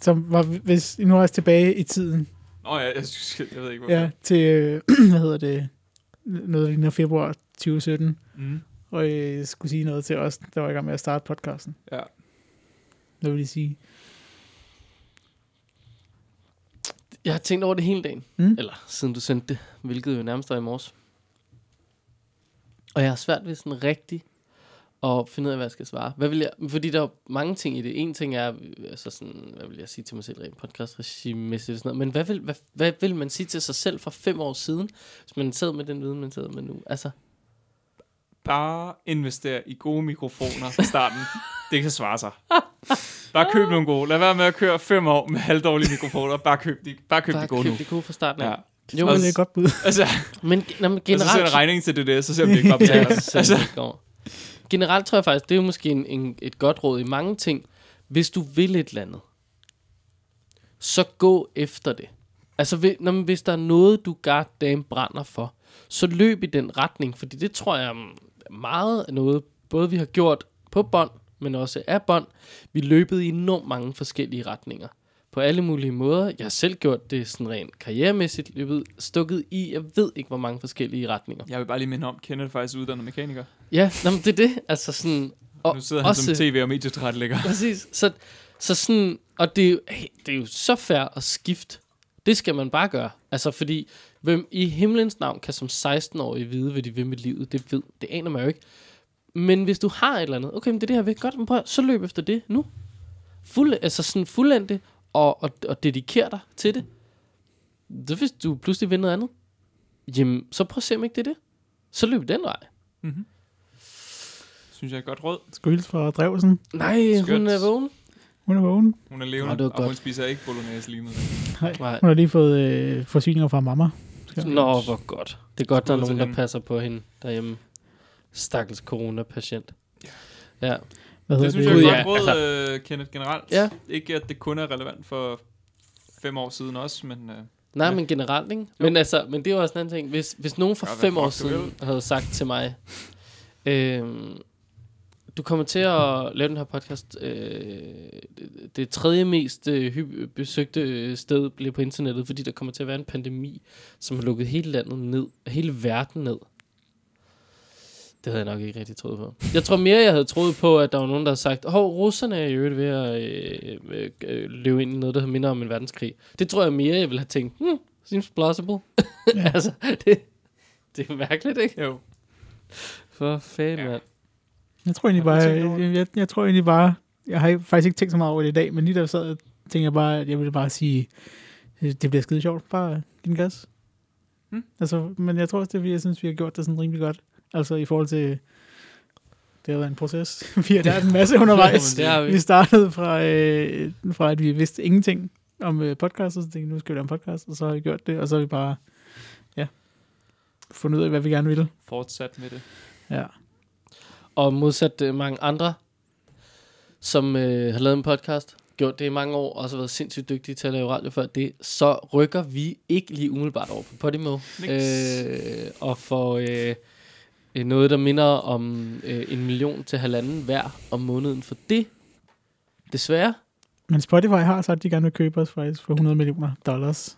Som var, hvis I nu rejser tilbage i tiden, Nå ja, jeg, synes- jeg ved ikke, hvorfor. ja, til, øh, hvad hedder det, noget der ligner februar 2017, Mm. og øh, skulle sige noget til os, der var i gang med at starte podcasten. ja. Hvad vil I sige? Jeg har tænkt over det hele dagen. Mm. Eller siden du sendte det, hvilket jo nærmest var i morges. Og jeg har svært ved sådan rigtig at finde ud af, hvad jeg skal svare. Hvad vil jeg, fordi der er jo mange ting i det. En ting er, øh, altså sådan, hvad vil jeg sige til mig selv rent podcastregimemæssigt og sådan noget. Men hvad vil, hvad, hvad vil man sige til sig selv for fem år siden, hvis man sad med den viden, man sad med nu? Altså, Bare investere i gode mikrofoner fra starten. Det kan svare sig. Bare køb nogle gode. Lad være med at køre fem år med halvdårlige mikrofoner. Bare køb de, bare køb bare de gode køb nu. det gode fra starten af. Ja. Ja. Jo, Jo, men men, det er et godt bud. Altså, men, nå, men og så sender generelt, en regning til det der, så ser vi ikke bare betaler. Ja, så altså. ikke over. Generelt tror jeg faktisk, det er jo måske en, en, et godt råd i mange ting. Hvis du vil et eller andet, så gå efter det. Altså, hvis, når, men hvis der er noget, du goddamn brænder for, så løb i den retning, fordi det tror jeg mm, er meget af noget, både vi har gjort på bånd, men også af bånd. Vi løbede i enormt mange forskellige retninger. på alle mulige måder. Jeg har selv gjort det sådan rent karrieremæssigt, løbet stukket i, jeg ved ikke, hvor mange forskellige retninger. Jeg vil bare lige minde om, Kenneth er faktisk uddannet mekaniker. Ja, nå, men det er det. Altså sådan... Og nu sidder han også, som tv- og medietrætlægger. Præcis. Så, så sådan, og det er, jo, hey, det er jo så fair at skifte. Det skal man bare gøre. Altså, fordi hvem i himlens navn kan som 16-årig vide, hvad de vil med livet? Det ved, det aner man jo ikke. Men hvis du har et eller andet, okay, men det er det her væk, godt, men prøv, så løb efter det nu. Fuld, altså sådan fuldend det, og, og, og dediker dig til det. Så hvis du pludselig vil noget andet, jamen, så prøv at se, om ikke det er det. Så løb den vej. Synes jeg er et godt råd. Skal hilse fra Drevsen. Nej, Skønt. hun er vågen. Hun er vågen. Hun er levende, Nå, det var og hun godt. spiser ikke bolognese lige med. Nej. Hun har lige fået øh, forsyninger fra mamma. Nå, hvor godt. Det er godt, der er Skud til nogen, der hende. passer på hende derhjemme. Stakkels coronapatient. Ja. ja. Hvad hedder Det det? synes jeg er et Gud, godt ja, altså- råd, øh, Kenneth, generelt. Ja. Ikke at det kun er relevant for fem år siden også, men øh, Nej, Ja. men generelt, ikke? Men, altså, men det er jo også en anden ting. Hvis, hvis nogen for Gør, hvad fem fuck år du siden vil. havde sagt til mig, øhm, du kommer til at lave den her podcast, øh, det, det tredje mest øh, hypp- besøgte øh, sted bliver på internettet, fordi der kommer til at være en pandemi, som har lukket hele landet ned, hele verden ned. Det havde jeg nok ikke rigtig troet på. Jeg tror mere, jeg havde troet på, at der var nogen, der havde sagt, hov, russerne er i øvrigt ved at øh, øh, øh, løbe ind i noget, der minder om en verdenskrig. Det tror jeg mere, jeg ville have tænkt, hmm, seems plausible. Ja. altså, det, det er mærkeligt, ikke? jo. For fanden, Ja. ja. mand. Jeg tror egentlig Har bare, du tænkt over jeg, jeg, jeg tror egentlig bare, jeg har ikke- faktisk ikke tænkt så meget over det i dag, men lige da jeg sad, tænkte jeg bare, at jeg ville bare sige, øh, det bliver skide sjovt, bare øh, giv den gas. Mm. Altså, men jeg tror også, det er, fordi jeg synes, vi har gjort det sådan rimelig godt. Altså i forhold til, det har været en proces. vi har lært en masse undervejs. Det har vi. vi startede fra, øh, fra, at vi vidste ingenting om øh, podcast, og så tænkte jeg, nu skal vi lave en podcast, og så har vi gjort det, og så har vi bare, ja, fundet ud af, hvad vi gerne ville. Fortsat med det. Ja. Og modsat øh, mange andre, som øh, har lavet en podcast, gjort det i mange år, og også været sindssygt dygtige til at lave radio før det, så rykker vi ikke lige umiddelbart over på Podimo. Niks. Øh, og får øh, øh, noget, der minder om øh, en million til halvanden hver om måneden for det. Desværre. Men Spotify har sagt, at de gerne vil købe os faktisk for 100 millioner dollars.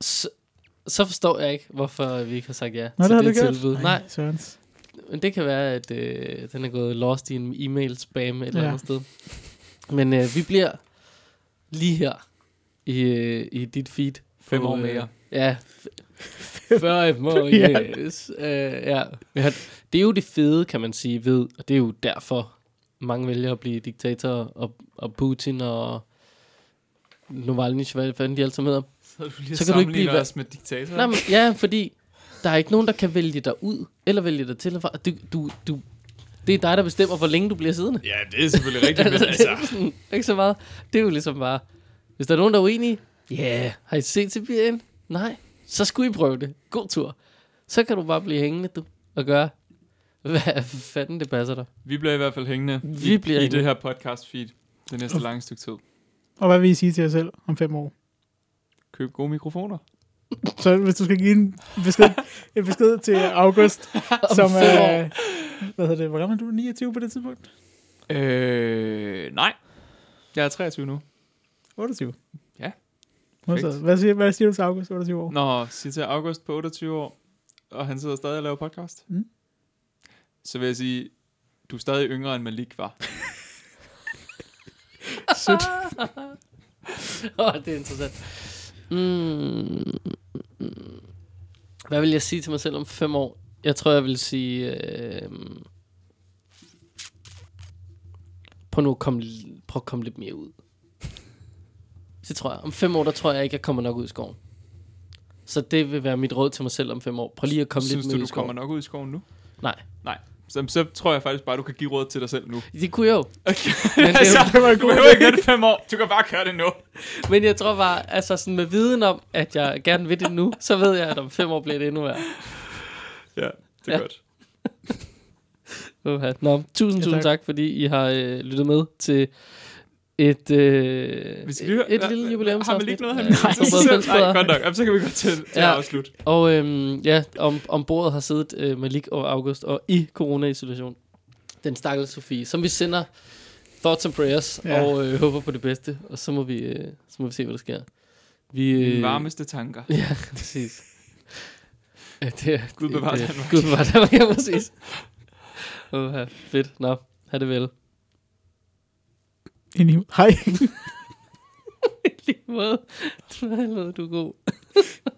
Så, så forstår jeg ikke, hvorfor vi ikke har sagt ja Nå, det til har det du gjort. tilbud. Nej, Sørens. Men det kan være, at øh, den er gået lost i en e-mail-spam et eller Ja. andet sted. Men øh, vi bliver lige her i, øh, i dit feed. Fem på, år øh, mere. Ja. Fem år, Ja. yes. Øh, ja. ja. Det er jo det fede, kan man sige, ved, og det er jo derfor, mange vælger at blive diktator og, og Putin og Navalny, hvad fanden de alle sammen hedder. Så, du lige Så kan du ikke sammenligner blive- os med diktatorer. Nej, men, ja, fordi der er ikke nogen, der kan vælge dig ud, eller vælge dig til. og fra. Du, du, du, det er dig, der bestemmer, hvor længe du bliver siddende. Ja, det er selvfølgelig rigtigt, men det altså... er sådan, ikke så meget. Det er jo ligesom bare, hvis der er nogen, der er uenige, ja, yeah. har I set Sibirien? Nej, så skulle I prøve det. God tur. Så kan du bare blive hængende, du, og gøre, hvad fanden det passer dig. Vi bliver i hvert fald hængende Vi i, bliver i hængende. det her podcast feed det næste lange stykke tid. Og hvad vil I sige til jer selv om fem år? Køb gode mikrofoner. Så hvis du skal give en besked, en besked til August, som fem er... år. Hvad hedder det? Hvor gammel er du? 29 på det tidspunkt? Øh, nej. Jeg er 23 nu. 28. Ja. Modtaget. Hvad siger, hvad siger du til August, 28 år? Nå, sig til August på 28 år, og han sidder stadig og laver podcast. Mm. Så vil jeg sige, du er stadig yngre end Malik var. Sødt. Åh, oh, det er interessant. Mm. Hvad vil jeg sige til mig selv om fem år? Jeg tror, jeg vil sige... Øh, prøv nu at komme, l- prøv at komme lidt mere ud. Det tror jeg. Om fem år, der tror jeg ikke, jeg kommer nok ud i skoven. Så det vil være mit råd til mig selv om fem år. Prøv lige at komme lidt Synes du, mere ud i du skoven. kommer nok ud i skoven nu? Nej, Nej. Så, så tror jeg faktisk bare, du kan give råd til dig selv nu. det kunne jeg jo. Okay. Men det er jo- det var en god du behøver ikke vente fem år. Du kan bare køre det nu. Men jeg tror bare, altså sådan med viden om, at jeg gerne vil det nu, så ved jeg, at om fem år bliver det endnu værre. Ja, det er Ja. ja. godt. Uha. Nå, tusind, Ja, tusind tak. tak, fordi I har øh, lyttet med til et, øh, Vi skal lige høre- et Ja, lille jubilæum. Har Malik noget? han Nej, vil sige til sig selv? Nej, nej, godt nok. Jamen, så kan vi gå til, til Ja. ja. afslut. Og øhm, ja, om, om bordet har siddet øh, Malik og August og i corona-isolation. Den stakkels Sofie, som vi sender Thoughts and prayers, Ja. ja. og øh, håber på det bedste, og så må vi, øh, så må vi se, hvad der sker. Vi, øh, Mine varmeste tanker. Ja, præcis. Ja, det er, Gud bevare det, er- Danmark. Gud bevare Danmark, ja, præcis. Uha, fedt. Nå, ha' det vel. Ind i- Hej. I lige måde. Du er helvede, du er god.